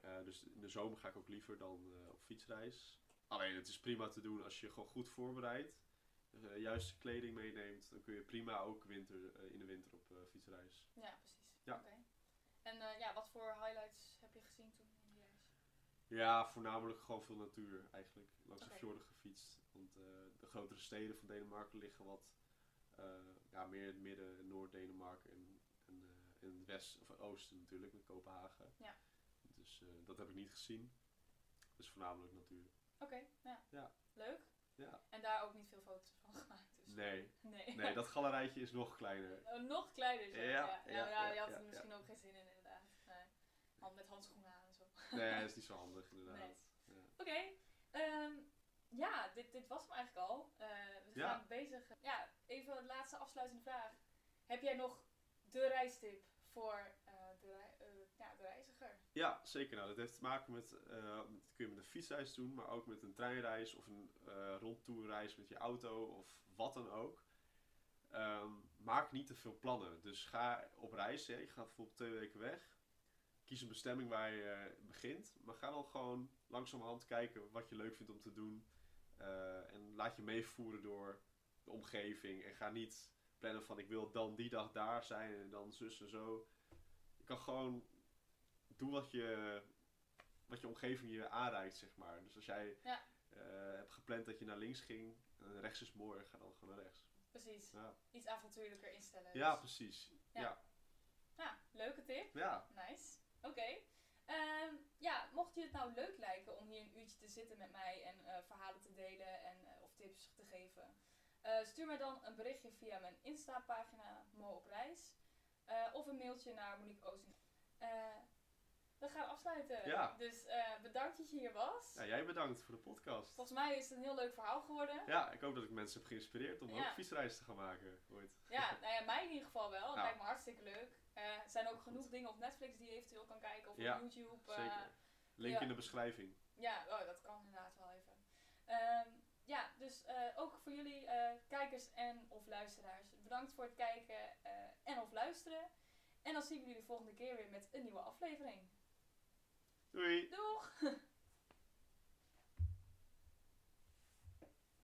B: Eh, dus in de zomer ga ik ook liever dan eh, op fietsreis. Alleen, het is prima te doen als je je gewoon goed voorbereidt. eh, juiste kleding meeneemt, dan kun je prima ook winter, eh, in de winter op eh, fietsreis.
A: Ja, precies.
B: Ja.
A: Oké. En eh, ja, wat voor highlights heb je gezien toen in die reis?
B: Ja, voornamelijk gewoon veel natuur eigenlijk. Langs
A: Oké.
B: de fjorden gefietst. Want eh, de grotere steden van Denemarken liggen wat eh, ja, meer in het midden, in Noord-Denemarken en, en eh, in het west, of oosten natuurlijk, met Kopenhagen.
A: Ja.
B: Dus eh, dat heb ik niet gezien. Dus voornamelijk natuur.
A: Oké, ja.
B: Ja.
A: Leuk.
B: Ja.
A: En daar ook niet veel foto's van gemaakt. Dus.
B: Nee,
A: Nee.
B: nee, dat galerijtje is nog kleiner.
A: Eh, Nog kleiner zelfs,
B: Ja,
A: ja.
B: ja,
A: Nou ja, je
B: ja,
A: had
B: ja,
A: er misschien ook geen zin in inderdaad. Nee. Hand met handschoenen aan en zo.
B: Nee, dat is niet zo handig inderdaad.
A: Nee.
B: Ja.
A: Oké. ehm, ja, dit, dit was hem eigenlijk al. Eh, we
B: Ja.
A: gaan bezig. Ja, even een laatste afsluitende vraag. Heb jij nog de reistip voor eh, de, rei- eh, ja, de reiziger?
B: Ja, zeker. Nou, dat heeft te maken met, eh, dat kun je met een fietsreis doen, maar ook met een treinreis of een eh rondtoerreis met je auto of wat dan ook. Ehm, maak niet te veel plannen. Dus ga op reis. Hè. Je gaat bijvoorbeeld twee weken weg. Kies een bestemming waar je eh, begint. Maar ga dan gewoon langzamerhand kijken wat je leuk vindt om te doen. Eh, en laat je meevoeren door de omgeving. En ga niet plannen van ik wil dan die dag daar zijn en dan zus en zo. Je kan gewoon doe wat je, wat je omgeving je aanreikt, zeg maar. Dus als jij
A: Ja.
B: eh, hebt gepland dat je naar links ging, en rechts is mooi, ga dan gewoon naar rechts.
A: Precies.
B: Ja,
A: Iets avontuurlijker instellen.
B: ja
A: dus.
B: precies.
A: Ja, leuke tip.
B: Ja.
A: Nice. Oké. Ehm, ja, mocht je het nou leuk lijken om hier een uurtje te zitten met mij en eh, verhalen te delen en, eh, of tips te geven, eh, stuur mij dan een berichtje via mijn Insta-pagina Mo op Reis eh, of een mailtje naar Monique Oosting. Eh, we gaan afsluiten.
B: Ja.
A: Dus eh, bedankt dat je hier was.
B: ja, jij bedankt voor de podcast.
A: Volgens mij is het een heel leuk verhaal geworden.
B: Ja, ik hoop dat ik mensen heb geïnspireerd om
A: Ja.
B: ook fietsreizen te gaan maken ooit.
A: Ja, nou ja, mij in ieder geval wel. Het
B: Ja.
A: lijkt me hartstikke leuk. Eh, er zijn ook genoeg dingen op Netflix die je eventueel kan kijken of
B: Ja,
A: op YouTube. eh,
B: Zeker. Link
A: ja.
B: in de beschrijving.
A: Ja, oh, dat kan inderdaad wel even. Ehm, ja, dus eh, ook voor jullie eh, kijkers en of luisteraars. Bedankt voor het kijken eh, en of luisteren. En dan zien we jullie de volgende keer weer met een nieuwe aflevering.
B: Doei!
A: Doei!